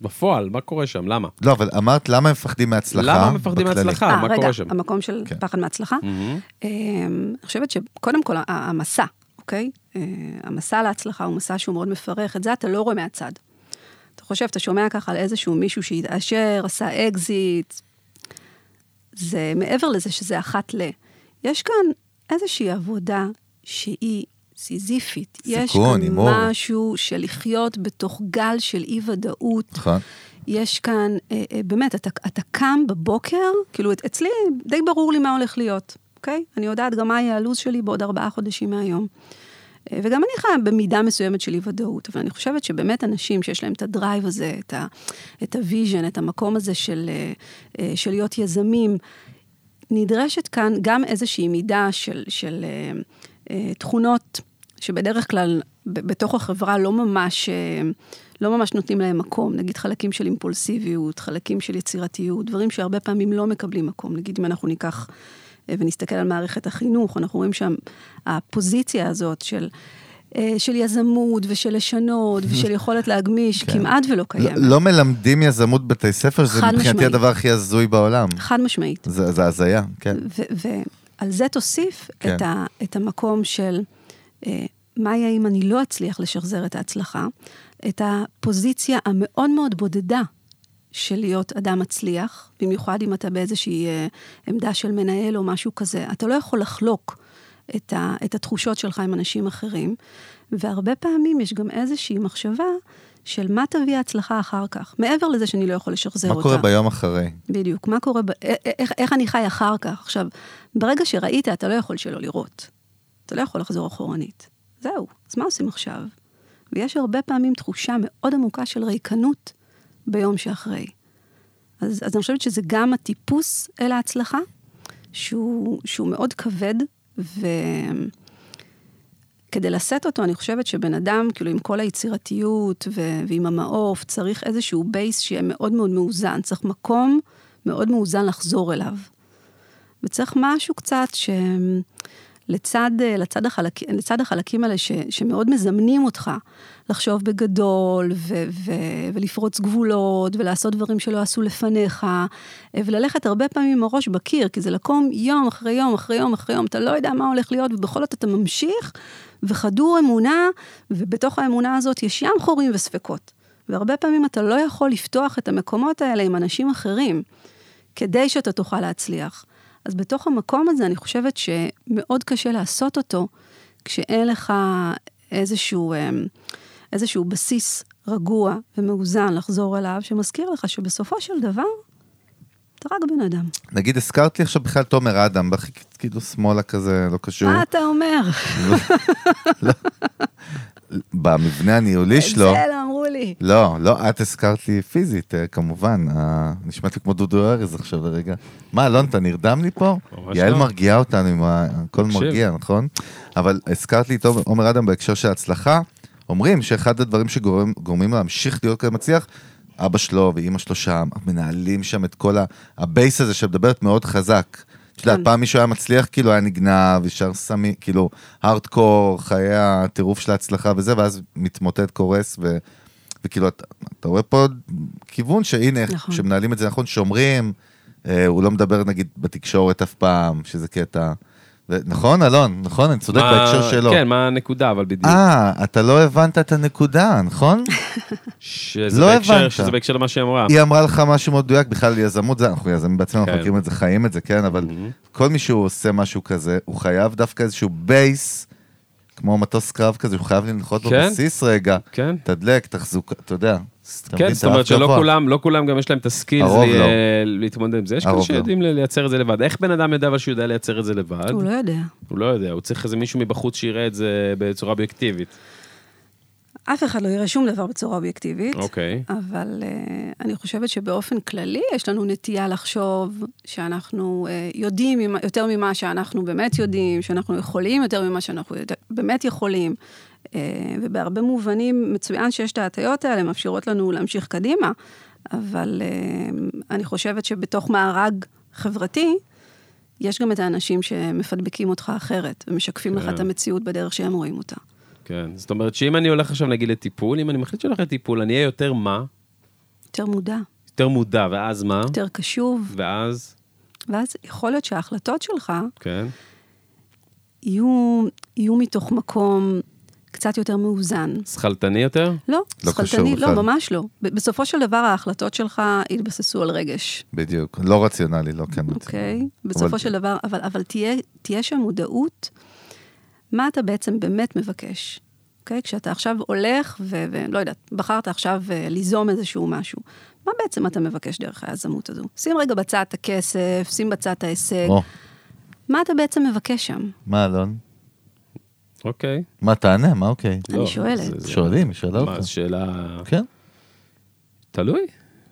Speaker 3: בפועל, מה קורה שם? למה?
Speaker 1: לא, אבל אמרת למה הם מפחדים מהצלחה?
Speaker 3: למה הם מפחדים
Speaker 1: בכללי?
Speaker 3: מהצלחה?
Speaker 4: אה,
Speaker 3: מה
Speaker 4: רגע,
Speaker 3: קורה שם? Mm-hmm.
Speaker 4: המקום של
Speaker 1: כן.
Speaker 4: פחד מהצלחה.
Speaker 3: מהמם.
Speaker 4: אמ, אני חושבת שקודם כל ה- המסע, אוקיי? אה, המסע להצלחה הוא מסע שהוא מאוד מפרך, את זה אתה לא רואה מהצד. אתה חושב, אתה שומע ככה על איזשהו מישהו שהתעשר, עשה אקזיט. זה מעבר לזה שזה אחת ל... יש כאן איזושהי עבודה שהיא סיזיפית.
Speaker 1: סיכון,
Speaker 4: יש כאן
Speaker 1: הימור.
Speaker 4: משהו של לחיות בתוך גל של אי-ודאות.
Speaker 1: נכון.
Speaker 4: יש כאן, אה, אה, באמת, אתה, אתה קם בבוקר, כאילו את- אצלי די ברור לי מה הולך להיות, אוקיי? אני יודעת גם מה יהיה הלו"ז שלי בעוד ארבעה חודשים מהיום. אה, וגם אני חיה במידה מסוימת של אי-ודאות, אבל אני חושבת שבאמת אנשים שיש להם את הדרייב הזה, את ה- את הוויז'ן, את המקום הזה של, אה, אה, של להיות יזמים, נדרשת כאן גם איזושהי מידה של, של אה, אה, תכונות שבדרך כלל ב- בתוך החברה לא ממש, אה, לא ממש נותנים להם מקום. נגיד חלקים של אימפולסיביות, חלקים של יצירתיות, דברים שהרבה פעמים לא מקבלים מקום. נגיד אם אנחנו ניקח אה, ונסתכל על מערכת החינוך, אנחנו רואים שם הפוזיציה הזאת של... אה, של יזמות ושל לשנות ושל יכולת להגמיש,
Speaker 1: כן.
Speaker 4: כמעט ולא
Speaker 1: לא
Speaker 4: קיימת.
Speaker 1: לא מלמדים יזמות בבתי ספר, זה
Speaker 4: חד
Speaker 1: מבחינתי
Speaker 4: משמעית.
Speaker 1: הדבר הכי הזוי בעולם.
Speaker 4: חד משמעית.
Speaker 1: זה זה הזיה, כן.
Speaker 4: ועל זה תוסיף
Speaker 1: כן.
Speaker 4: את, ה, את המקום של אה, מה יהיה אם אני לא אצליח לשחזר את ההצלחה, את הפוזיציה המאוד מאוד בודדה של להיות אדם מצליח, במיוחד אם אתה באיזושהי אה, עמדה של מנהל או משהו כזה. אתה לא יכול לחלוק את, ה, את התחושות שלך עם אנשים אחרים, והרבה פעמים יש גם איזושהי מחשבה של מה תביא ההצלחה אחר כך, מעבר לזה שאני לא יכול לשחזר
Speaker 1: מה
Speaker 4: אותה.
Speaker 1: קורה ביום אחרי?
Speaker 4: בדיוק, מה קורה, ב... א- א- איך, איך אני חי אחר כך. עכשיו, ברגע שראית, אתה לא יכול שלא לראות. אתה לא יכול לחזור אחורנית. זהו, אז מה עושים עכשיו? ויש הרבה פעמים תחושה מאוד עמוקה של ריקנות ביום שאחרי. אז, אז אני חושבת שזה גם הטיפוס אל ההצלחה, שהוא, שהוא מאוד כבד, ו... כדי לשאת אותו, אני חושבת שבן אדם, כאילו, עם כל היצירתיות ו- ועם המעוף, צריך איזשהו בייס שיהיה מאוד מאוד מאוזן. צריך מקום מאוד מאוזן לחזור אליו. וצריך משהו קצת ש... לצד, אה, לצד, החלק, לצד החלקים האלה ש, שמאוד מזמנים אותך לחשוב בגדול ו, ו, ולפרוץ גבולות ולעשות דברים שלא עשו לפניך אה, וללכת הרבה פעמים עם הראש בקיר, כי זה לקום יום אחרי יום אחרי יום אחרי יום, אתה לא יודע מה הולך להיות ובכל זאת אתה ממשיך וחדור אמונה ובתוך האמונה הזאת יש ים חורים וספקות. והרבה פעמים אתה לא יכול לפתוח את המקומות האלה עם אנשים אחרים. כדי שאתה תוכל להצליח. אז בתוך המקום הזה, אני חושבת שמאוד קשה לעשות אותו כשאין לך איזשהו, אמ, איזשהו בסיס רגוע ומאוזן לחזור אליו, שמזכיר לך שבסופו של דבר, אתה רק בן אדם.
Speaker 1: נגיד, הזכרת לי עכשיו בכלל תומר אדם, בכי כאילו שמאלה כזה, לא קשור.
Speaker 4: מה אתה אומר?
Speaker 1: במבנה הניהולי שלו.
Speaker 4: את זה לא אמרו לי.
Speaker 1: לא, לא, את הזכרת לי פיזית, אה, כמובן. אה, נשמעת לי כמו דודו ארז עכשיו לרגע. מה, אלון, אתה נרדם לי פה?
Speaker 2: ממש
Speaker 1: יעל
Speaker 2: לא.
Speaker 1: מרגיעה אותנו עם ה- הכל
Speaker 2: תקשיב.
Speaker 1: מרגיע, נכון? אבל הזכרת לי את עומר- עומר אדם בהקשר של ההצלחה. אומרים שאחד הדברים שגורמים לו להמשיך להיות כזה מצליח, אבא שלו ואימא שלו שם, מנהלים שם את כל ה... הבייס הזה שמדברת מאוד חזק. את יודעת,
Speaker 4: כן.
Speaker 1: פעם מישהו היה מצליח, כאילו היה נגנב, ישר סמי, כאילו, הארדקור, חיי הטירוף של ההצלחה וזה, ואז מתמוטט, קורס, ו... וכאילו, אתה, אתה רואה פה כיוון שהנה, נכון.
Speaker 4: נכון.
Speaker 1: כשמנהלים את זה נכון, שומרים, אה, הוא לא מדבר נגיד בתקשורת אף פעם, שזה קטע. ו... נכון, אלון? נכון? אני צודק
Speaker 3: מה-
Speaker 1: בהקשר שלו.
Speaker 3: כן, מה הנקודה, אבל בדיוק.
Speaker 1: אה, אתה לא הבנת את הנקודה, נכון?
Speaker 3: שזה
Speaker 1: לא
Speaker 3: בהקשר-
Speaker 1: הבנת.
Speaker 3: שזה בהקשר למה שהיא אמרה.
Speaker 1: היא אמרה לך משהו מאוד מדויק, בכלל יזמות זה, אנחנו יזמים בעצמנו, אנחנו
Speaker 3: כן. Mm-hmm.
Speaker 1: מכירים את זה, חיים את זה, כן, אבל כל מי שהוא עושה משהו כזה, הוא חייב דווקא איזשהו בייס, כמו מטוס קרב כזה, הוא חייב לנחות
Speaker 3: כן.
Speaker 1: בבסיס רגע.
Speaker 3: כן.
Speaker 1: תדלק, תחזוק, אתה יודע. אתה מבין,
Speaker 3: כן, זאת אומרת
Speaker 1: אתה רב
Speaker 3: שלא
Speaker 1: גבוה.
Speaker 3: כולם, לא כולם גם יש להם את הסקילס
Speaker 1: הרוב
Speaker 3: ל-
Speaker 1: לא.
Speaker 3: להתמודד עם זה. יש כאלה
Speaker 1: הרוב לא.
Speaker 3: שיודעים ל- לייצר את זה לבד. איך בן אדם יודע אבל שהוא יודע לייצר את זה לבד?
Speaker 4: הוא לא יודע.
Speaker 3: הוא לא יודע, הוא צריך איזה מישהו מבחוץ שיראה את זה בצורה אובייקטיבית.
Speaker 4: אף אחד לא יראה שום דבר בצורה אובייקטיבית.
Speaker 3: אוקיי.
Speaker 4: אבל אה, אני חושבת שבאופן כללי יש לנו נטייה לחשוב שאנחנו אה, יודעים ממה- יותר ממה שאנחנו באמת יודעים, שאנחנו יכולים יותר ממה שאנחנו יודע- באמת יכולים. אה, ובהרבה מובנים מצוין שיש את ההטיות האלה, מאפשרות לנו להמשיך קדימה, אבל אה, אני חושבת שבתוך מארג חברתי, יש גם את האנשים שמפדבקים אותך אחרת, ומשקפים לך
Speaker 3: כן.
Speaker 4: את המציאות בדרך שהם רואים אותה.
Speaker 3: כן, זאת אומרת שאם אני הולך עכשיו נגיד לטיפול, אם אני מחליט שאני הולך לטיפול, אני אהיה יותר מה?
Speaker 4: יותר מודע,
Speaker 3: יותר מודע, ואז מה?
Speaker 4: יותר קשוב,
Speaker 3: ואז,
Speaker 4: ואז יכול להיות שההחלטות שלך
Speaker 3: כן,
Speaker 4: יהיו, יהיו מתוך מקום קצת יותר מאוזן.
Speaker 3: שכלתני יותר?
Speaker 4: לא,
Speaker 1: לא קשור
Speaker 4: שכלתני,
Speaker 1: בכלל.
Speaker 4: לא, ממש לא. ב- בסופו של דבר ההחלטות שלך יתבססו על רגש,
Speaker 1: בדיוק, לא רציונלי, לא כן רציונלי.
Speaker 4: אוקיי? בסופו של דבר, אבל, אבל תהיה, תהיה שם מודעות מה אתה בעצם באמת מבקש. אוקיי? כשאתה עכשיו הולך, ו- ולא יודעת, בחרת עכשיו אה, ליזום איזשהו משהו, מה בעצם אתה מבקש דרך היזמות הזו? שים רגע בצד את הכסף, שים בצד את ההישג,
Speaker 1: או,
Speaker 4: מה אתה בעצם מבקש שם?
Speaker 1: מה, אלון?
Speaker 3: אוקיי.
Speaker 1: מה, תענה, מה, אוקיי.
Speaker 4: אני
Speaker 3: לא,
Speaker 4: שואלת.
Speaker 3: זה- זה-
Speaker 1: שואלים, היא שאלה אותך.
Speaker 3: מה, שאלה...
Speaker 1: כן.
Speaker 3: תלוי.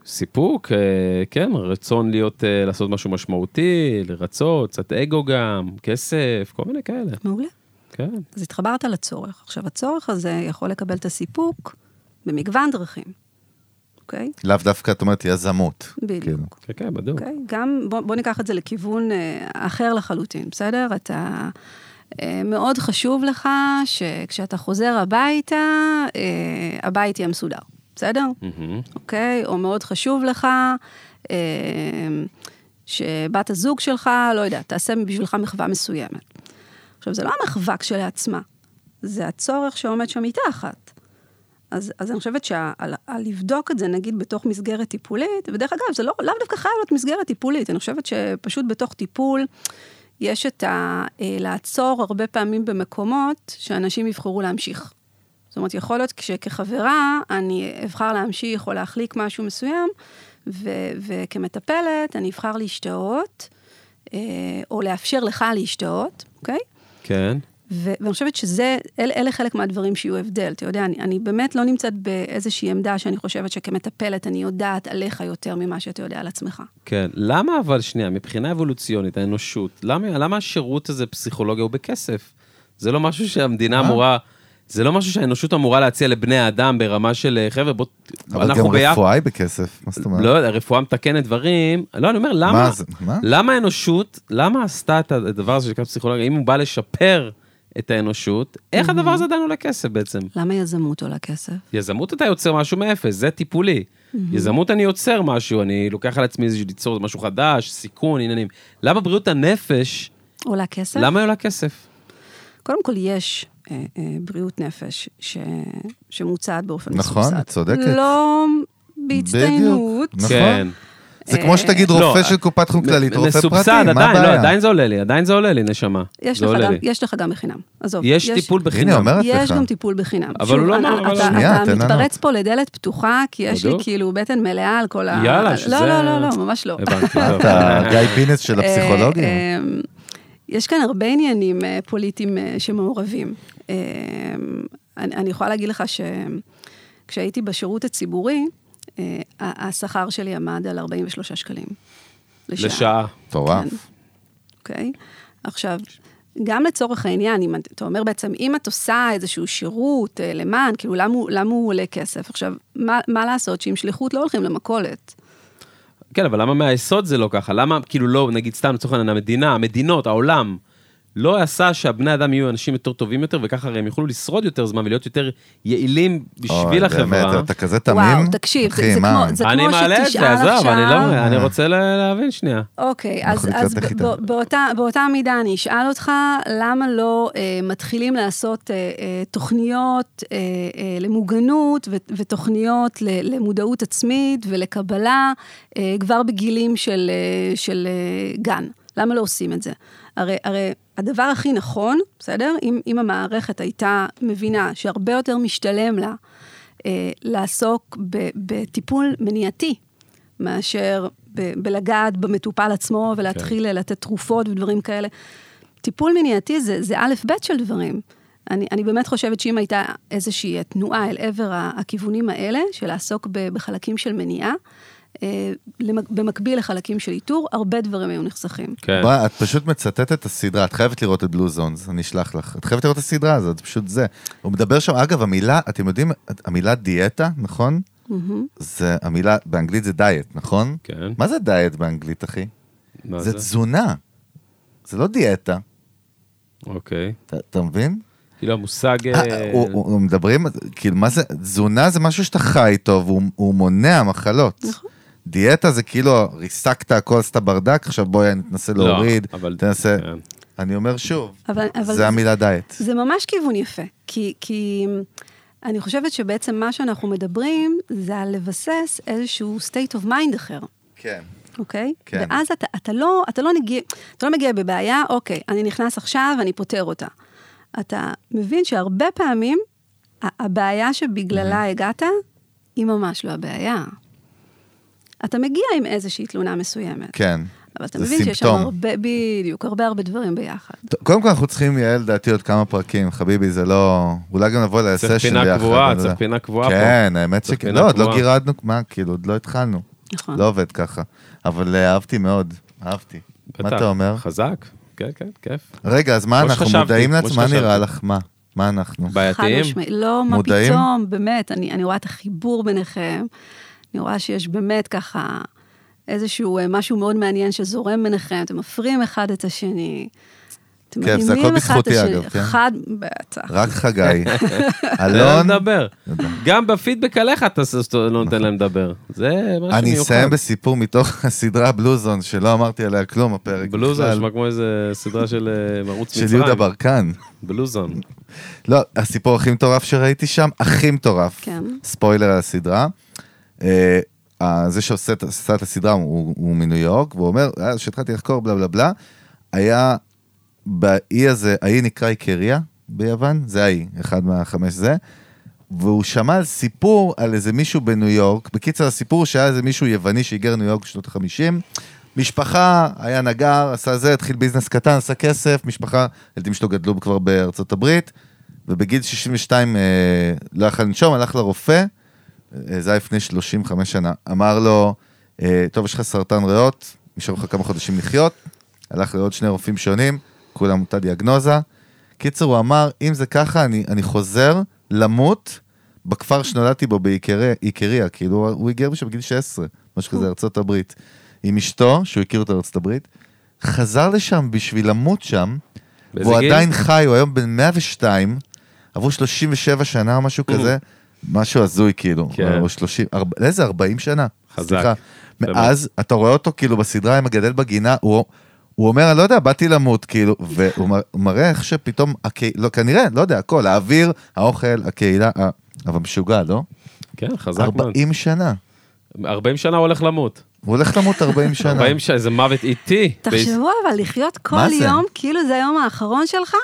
Speaker 3: סיפוק, אה, כן, רצון להיות, אה, לעשות משהו משמעותי, לרצות, קצת אגו גם, כסף, כל מיני כאלה,
Speaker 4: מעולה.
Speaker 3: כן.
Speaker 4: אז התחברת לצורך. עכשיו, הצורך הזה יכול לקבל את הסיפוק במגוון דרכים, אוקיי?
Speaker 1: לאו דווקא, את אומרת, יזמות.
Speaker 4: בדיוק.
Speaker 1: כאילו.
Speaker 3: כן, כן, בדיוק.
Speaker 4: אוקיי? גם, בוא, בוא ניקח את זה לכיוון אה, אחר לחלוטין, בסדר? אתה... אה, מאוד חשוב לך שכשאתה חוזר הביתה, אה, הבית יהיה מסודר, בסדר?
Speaker 3: מהמם.
Speaker 4: אוקיי? או מאוד חשוב לך אה, שבת הזוג שלך, לא יודעת, תעשה בשבילך מחווה מסוימת. עכשיו, זה לא המחווה כשלעצמה, זה הצורך שעומד שם מתחת. אז, אז אני חושבת שלבדוק את זה, נגיד, בתוך מסגרת טיפולית, ודרך אגב, זה לא, לאו דווקא חייב להיות מסגרת טיפולית, אני חושבת שפשוט בתוך טיפול יש את ה... אה, לעצור הרבה פעמים במקומות שאנשים יבחרו להמשיך. זאת אומרת, יכול להיות שכחברה אני אבחר להמשיך או להחליק משהו מסוים, ו- וכמטפלת אני אבחר להשתהות, אה, או לאפשר לך להשתהות, אוקיי?
Speaker 3: כן,
Speaker 4: ו- ואני חושבת שזה, אל, אלה חלק מהדברים שיהיו הבדל. אתה יודע, אני, אני באמת לא נמצאת באיזושהי עמדה שאני חושבת שכמטפלת אני יודעת עליך יותר ממה שאתה יודע על עצמך.
Speaker 3: כן. למה אבל, שנייה, מבחינה אבולוציונית, האנושות, למה, למה השירות הזה פסיכולוגיה הוא בכסף? זה לא משהו שהמדינה אמורה, זה לא משהו שהאנושות אמורה להציע לבני האדם ברמה של, אה, חבר'ה, בוא,
Speaker 1: אבל
Speaker 3: אנחנו
Speaker 1: גם
Speaker 3: ביחד.
Speaker 1: רפואה היא בכסף, מה זאת אומרת?
Speaker 3: לא יודע, רפואה מתקנת דברים. לא, אני אומר, למה...
Speaker 1: מה זה? מה?
Speaker 3: למה האנושות, למה עשתה את הדבר הזה שנקרא פסיכולוגיה, אם הוא בא לשפר את האנושות, איך הדבר הזה עדיין עולה כסף בעצם?
Speaker 4: למה יזמות עולה כסף?
Speaker 3: יזמות אתה יוצר משהו מאפס, זה טיפולי. יזמות אני יוצר משהו, אני לוקח על עצמי איזה- ליצור משהו חדש, סיכון, עניינים. למה בריאות הנפש,
Speaker 4: עולה כסף?
Speaker 3: למה היא עולה כסף?
Speaker 4: קודם כל, יש אה, אה, בריאות נפש ש... שמוצעת באופן
Speaker 1: נכון,
Speaker 4: מסובסד.
Speaker 1: את צודקת.
Speaker 4: לא בהצטיינות.
Speaker 1: בדיוק, נכון.
Speaker 3: כן.
Speaker 1: זה כמו שתגיד
Speaker 3: לא,
Speaker 1: רופא
Speaker 3: אה,
Speaker 1: של קופת חום כללית, רופא פרטי,
Speaker 3: מסובסד,
Speaker 1: מה
Speaker 3: עדיין, לא,
Speaker 1: הבעיה?
Speaker 3: עדיין זה עולה לי, עדיין זה עולה לי, נשמה.
Speaker 4: יש
Speaker 3: זה
Speaker 4: לך,
Speaker 3: לא עולה
Speaker 4: גם,
Speaker 3: לי.
Speaker 4: יש לך גם בחינם, עזוב.
Speaker 3: יש טיפול בחינם.
Speaker 1: הנה, אומרת
Speaker 4: יש
Speaker 1: לך.
Speaker 4: גם טיפול בחינם.
Speaker 3: אבל
Speaker 4: שוב,
Speaker 3: הוא לא
Speaker 4: אני-
Speaker 3: אמר, אבל-
Speaker 4: אתה,
Speaker 1: שנייה,
Speaker 4: אתה
Speaker 1: תן לנו.
Speaker 4: מתפרץ פה לדלת פתוחה, כי יש לי
Speaker 3: בדיוק.
Speaker 4: כאילו בטן מלאה על כל ה...
Speaker 3: יאללה,
Speaker 4: לא,
Speaker 3: שזה-
Speaker 4: לא, לא, לא, ממש לא.
Speaker 3: הבנתי, טוב.
Speaker 1: אתה גיא פינס של
Speaker 4: אה,
Speaker 1: הפסיכולוגיה?
Speaker 4: אה, יש כאן הרבה עניינים אה, פוליטיים אה, שמעורבים. אה, אני אני יכולה להגיד לך שכשהייתי בשירות הציבורי, אה, ה- השכר שלי עמד על 43 שקלים.
Speaker 3: לשעה.
Speaker 1: מטורף.
Speaker 4: כן. אוקיי? עכשיו, גם לצורך העניין, אם אתה אומר בעצם, אם את עושה איזשהו שירות אה, למען, כאילו, למה, הוא- למה הוא עולה כסף? עכשיו, מה, מה לעשות שעם שליחות לא הולכים למכולת?
Speaker 3: כן, אבל למה מהיסוד זה לא ככה? למה, כאילו, לא, נגיד סתם, לצורך העניין, המדינה, המדינות, העולם, לא עשה שהבני אדם יהיו אנשים יותר טובים יותר, וככה הרי הם יוכלו לשרוד יותר זמן ולהיות יותר יעילים בשביל
Speaker 1: אוי,
Speaker 3: החברה.
Speaker 1: באמת, אתה כזה תמים?
Speaker 4: וואו, תקשיב, זה-
Speaker 1: אחי,
Speaker 4: זה
Speaker 1: מה?
Speaker 4: כמו- זה
Speaker 3: אני מעלה את זה,
Speaker 4: שתשאל
Speaker 3: עזוב, אני
Speaker 4: עכשיו-
Speaker 3: לא, אני רוצה לה- להבין שנייה.
Speaker 4: אוקיי, אז,
Speaker 1: אנחנו
Speaker 4: אז
Speaker 1: לקראת
Speaker 4: ב-
Speaker 1: נחיתה.
Speaker 4: ב- באותה, באותה מידה אני אשאל אותך, למה לא אה, מתחילים לעשות אה, אה, תוכניות אה, אה, למוגנות ו- ותוכניות ל- למודעות עצמית ולקבלה אה, כבר בגילים של, אה, של אה, גן? למה לא עושים את זה? הרי, הרי הדבר הכי נכון, בסדר? אם, אם המערכת הייתה מבינה שהרבה יותר משתלם לה אה, לעסוק ב- בטיפול מניעתי, מאשר ב- בלגעת במטופל עצמו ולהתחיל כן. לתת תרופות ודברים כאלה. טיפול מניעתי זה, זה א' ב' של דברים. אני, אני באמת חושבת שאם הייתה איזושהי תנועה אל עבר ה- הכיוונים האלה, של לעסוק ב- בחלקים של מניעה, אה, למק- במקביל לחלקים של איתור, הרבה דברים היו נחסכים.
Speaker 3: כן.
Speaker 1: בוא, את פשוט מצטטת את הסדרה, את חייבת לראות את בלו זונס, אני אשלח לך. את חייבת לראות את הסדרה הזאת, זה פשוט זה. הוא מדבר שם, אגב, המילה, אתם יודעים, המילה דיאטה, נכון? זה המילה, באנגלית זה דיאט, נכון?
Speaker 3: כן.
Speaker 1: מה זה דיאט באנגלית, אחי?
Speaker 3: מה
Speaker 1: זה
Speaker 3: זה?
Speaker 1: תזונה. זה לא דיאטה,
Speaker 3: אוקיי.
Speaker 1: אתה- אתה מבין?
Speaker 3: כאילו המושג... אה,
Speaker 1: אה, הוא- הוא- הוא מדברים, כאילו, מה זה, תזונה זה משהו שאתה חי טוב, הוא- הוא מונע מחלות.
Speaker 4: נכון.
Speaker 1: דיאטה זה כאילו, ריסקת הכל, עשית ברדק, עכשיו בואי ננסה
Speaker 3: לא,
Speaker 1: להוריד,
Speaker 3: אבל-
Speaker 1: תנסה.
Speaker 3: כן.
Speaker 1: אני אומר שוב,
Speaker 4: אבל, אבל
Speaker 1: זה המילה דיאט.
Speaker 4: זה ממש כיוון יפה, כי, כי אני חושבת שבעצם מה שאנחנו מדברים זה על לבסס איזשהו state of mind אחר.
Speaker 1: כן.
Speaker 4: אוקיי?
Speaker 1: כן.
Speaker 4: ואז אתה, אתה, לא, אתה, לא נגיע, אתה לא מגיע בבעיה, אוקיי, אני נכנס עכשיו, אני פותר אותה. אתה מבין שהרבה פעמים ה- הבעיה שבגללה הגעת, היא ממש לא הבעיה. אתה מגיע עם איזושהי תלונה מסוימת.
Speaker 1: כן.
Speaker 4: אבל אתה
Speaker 1: זה
Speaker 4: מבין שיש שם
Speaker 1: סימפטום.
Speaker 4: הרבה, בדיוק, הרבה הרבה דברים ביחד.
Speaker 1: טוב, קודם כל אנחנו צריכים, יעל, לדעתי עוד כמה פרקים, חביבי, זה לא... אולי גם נבוא לסשן
Speaker 3: צריך
Speaker 1: ביחד.
Speaker 3: פינה קבועה,
Speaker 1: אני לא
Speaker 3: צריך
Speaker 1: יודע.
Speaker 3: פינה קבועה פה.
Speaker 1: כן, האמת
Speaker 3: צריך
Speaker 1: שכן.
Speaker 3: פינה
Speaker 1: לא, עוד לא
Speaker 3: קבועה.
Speaker 1: גירדנו, מה, כאילו, עוד לא התחלנו.
Speaker 4: נכון.
Speaker 1: לא עובד ככה. אבל אה, אהבתי מאוד, אהבתי. מה
Speaker 3: בטח.
Speaker 1: אתה אומר?
Speaker 3: חזק, כן, כן, כיף.
Speaker 1: רגע, אז מה
Speaker 3: כמו
Speaker 1: אנחנו
Speaker 3: שחשבתי,
Speaker 1: מודעים
Speaker 3: כמו
Speaker 1: לעצמם? מה
Speaker 3: שחשבתי.
Speaker 1: נראה לך? מה? מה אנחנו?
Speaker 4: חד
Speaker 3: בעייתיים?
Speaker 4: משמעית. לא, מה
Speaker 1: מודעים?
Speaker 4: פתאום, באמת, אני, אני רואה את החיבור ביניכם. אני רואה שיש באמת ככה איזשהו אה, משהו מאוד מעניין שזורם ביניכם, אתם מפרים אחד את השני. אתם
Speaker 1: כיף, כן, זה
Speaker 4: מדהימים
Speaker 1: הכל
Speaker 4: אחד את
Speaker 1: בזכותי,
Speaker 4: השני.
Speaker 1: אגב, כן?
Speaker 4: חד, בטח.
Speaker 1: רק חגי.
Speaker 3: תן להם
Speaker 1: אלון,
Speaker 3: לדבר. גם בפידבק עליך אתה ס- ס- לא נותן להם לדבר. זה משהו מיוחד.
Speaker 1: אני אסיים בסיפור מתוך הסדרה בלוזון, שלא אמרתי עליה כלום הפרק.
Speaker 3: בלוזון
Speaker 1: בכלל,
Speaker 3: נשמע כמו איזה סדרה של אה, ערוץ מצרים.
Speaker 1: של יהודה ברקן.
Speaker 3: בלוזון.
Speaker 1: לא, הסיפור הכי מטורף שראיתי שם, הכי מטורף.
Speaker 4: כן.
Speaker 1: ספוילר על הסדרה. אה, אה, זה שעושה את עשה את הסדרה הוא הוא מניו יורק, והוא אומר, "אה, כשהתחלתי לחקור בלה בלה בלה, היה באי הזה, האי נקרא איקריה ביוון, זה האי, אחד מהחמש זה. והוא שמע על סיפור על איזה מישהו בניו יורק, בקיצר הסיפור שהיה איזה מישהו יווני שהיגר לניו יורק בשנות ה-50, משפחה, היה נגר, עשה זה, התחיל ביזנס קטן, עשה כסף, משפחה, הילדים שלו גדלו כבר בארצות הברית, ובגיל 62 אה, לא יכל לנשום, הלך לרופא, אה, זה היה לפני 35 שנה, אמר לו, אה, טוב, יש לך סרטן ריאות, נשארו לך כמה חודשים לחיות, הלך לעוד שני רופאים שונים, כולם אותה דיאגנוזה. קיצר, הוא אמר, אם זה ככה, אני, אני חוזר למות בכפר שנולדתי בו, באיקריה, איקריה, כאילו, הוא היגר משם בגיל 16, משהו כזה, ארצות הברית, עם אשתו, שהוא הכיר אותה בארצות הברית, חזר לשם בשביל למות שם,
Speaker 3: באיזה
Speaker 1: והוא
Speaker 3: גיל?
Speaker 1: עדיין חי, הוא היום בן 102, עברו 37 שנה או משהו כזה, Mm. משהו הזוי כאילו,
Speaker 3: כן.
Speaker 1: או 30, ארבע- איזה 40 שנה,
Speaker 3: חזק.
Speaker 1: סליחה.
Speaker 3: באמת.
Speaker 1: מאז, אתה רואה אותו כאילו בסדרה עם הגדל בגינה, הוא... הוא אומר, אני לא יודע, באתי למות, כאילו, והוא מ- הוא מראה איך שפתאום, הקה... לא, כנראה, לא יודע, הכל, האוויר, האוכל, הקהילה, ה... אבל משוגע, לא?
Speaker 3: כן, חזק מאוד.
Speaker 1: 40 שנה.
Speaker 3: 40 שנה הוא הולך למות.
Speaker 1: הוא הולך למות 40 שנה.
Speaker 3: 40 שנה, זה מוות איטי.
Speaker 4: תחשבו אבל לחיות
Speaker 1: מה
Speaker 4: כל
Speaker 1: זה?
Speaker 4: יום, כאילו זה היום האחרון שלך,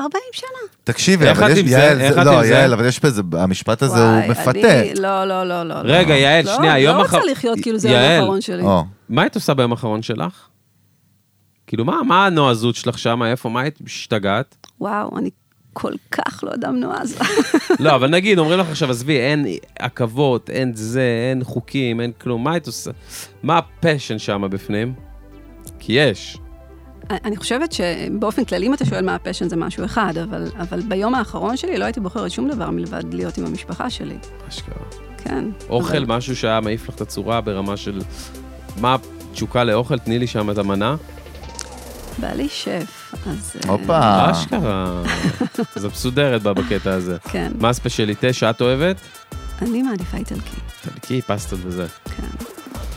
Speaker 4: 40 שנה.
Speaker 1: תקשיבי,
Speaker 3: איך
Speaker 1: אבל
Speaker 3: את
Speaker 1: יש,
Speaker 3: עם זה?
Speaker 1: יעל,
Speaker 3: איך
Speaker 1: זה,
Speaker 3: את
Speaker 1: לא,
Speaker 3: עם זה?
Speaker 1: יעל, אבל יש בזה, המשפט הזה
Speaker 4: וואי,
Speaker 1: הוא
Speaker 4: אני-
Speaker 1: מפתה.
Speaker 4: לא, לא, לא, לא. לא.
Speaker 3: רגע, יעל,
Speaker 4: לא,
Speaker 3: שנייה,
Speaker 4: אני
Speaker 3: יום
Speaker 4: לא
Speaker 3: אחר...
Speaker 4: רוצה לחיות כאילו זה היום
Speaker 3: יעל,
Speaker 4: האחרון שלי.
Speaker 1: או,
Speaker 3: מה היית עושה ביום האחרון שלך? כאילו, מה, מה הנועזות שלך שם? איפה? מה היית השתגעת?
Speaker 4: וואו, אני כל כך לא אדם נועז.
Speaker 3: לא, אבל נגיד, אומרים לך עכשיו, עזבי, אין עכבות, אין זה, אין חוקים, אין כלום, מה היית עושה? מה הפשן שם בפנים? כי יש.
Speaker 4: אני חושבת שבאופן כללי, אם אתה שואל מה הפשן, זה משהו אחד, אבל, אבל ביום האחרון שלי לא הייתי בוחרת שום דבר מלבד להיות עם המשפחה שלי,
Speaker 3: אשכרה.
Speaker 4: כן.
Speaker 3: אוכל,
Speaker 1: אוקיי.
Speaker 4: אבל...
Speaker 3: משהו שהיה מעיף לך את הצורה ברמה של... מה התשוקה לאוכל? תני לי שם את המנה.
Speaker 4: בעלי שף, אז... אה,
Speaker 1: הופה.
Speaker 3: אשכרה. זה מסודרת בה בקטע הזה.
Speaker 1: אוקיי.
Speaker 4: כן.
Speaker 3: מה הספיישליטה שאת אוהבת?
Speaker 4: אני מעדיפה איטלקי,
Speaker 3: תלקי, פסטות וזה.
Speaker 4: כן.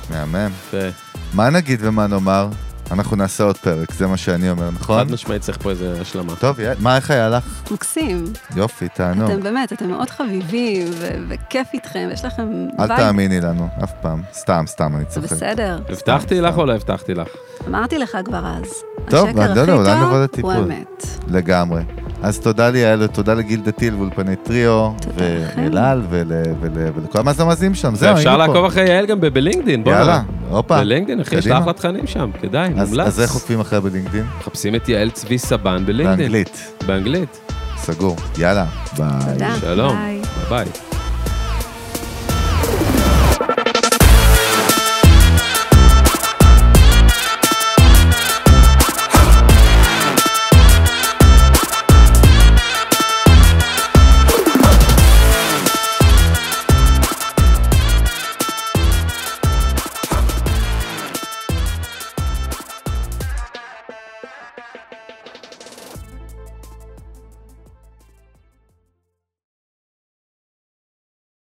Speaker 1: מהמם.
Speaker 3: זה-
Speaker 1: מה נגיד ומה נאמר? אנחנו נעשה עוד פרק, זה מה שאני אומר, נכון?
Speaker 3: חד משמעית צריך פה איזה השלמה.
Speaker 1: טוב, יעל, מה, איך היה לך?
Speaker 4: מקסים.
Speaker 1: יופי, תענוג.
Speaker 4: אתם באמת, אתם מאוד חביבים, ו- וכיף איתכם, יש לכם...
Speaker 1: אל
Speaker 4: וייב.
Speaker 1: תאמיני לנו, אף פעם. סתם, סתם, אני
Speaker 4: זה
Speaker 1: צוחק.
Speaker 4: בסדר.
Speaker 3: הבטחתי לך או לא הבטחתי לך?
Speaker 4: אמרתי לך כבר אז.
Speaker 1: טוב,
Speaker 4: השקר
Speaker 1: אני לא
Speaker 4: הכי
Speaker 1: יודע, אולי
Speaker 4: טוב
Speaker 1: נבוא
Speaker 4: הוא
Speaker 1: לטיפול.
Speaker 4: אמת.
Speaker 1: לגמרי. אז תודה ליעל, תודה לגיל דתיל ואולפני טריו,
Speaker 4: תודה לכם.
Speaker 1: ולאל, ול- ול- ולכל המאזינים שם, זהו,
Speaker 3: אפשר
Speaker 1: היינו פה.
Speaker 3: לעקוב אחרי יעל גם ב- בלינקדאין, בוא'נה.
Speaker 1: יאללה, הופה.
Speaker 3: בלינקדאין, אחי, יש לה
Speaker 1: קדימה.
Speaker 3: אחלה תכנים שם, כדאי,
Speaker 1: אז-
Speaker 3: מומלץ.
Speaker 1: אז איך עוקבים אחרי בלינקדאין?
Speaker 3: מחפשים את יעל צבי סבן בלינקדאין.
Speaker 1: באנגלית,
Speaker 3: באנגלית.
Speaker 1: סגור. יאללה, ביי.
Speaker 4: תודה.
Speaker 3: שלום.
Speaker 4: ביי.
Speaker 3: ביי.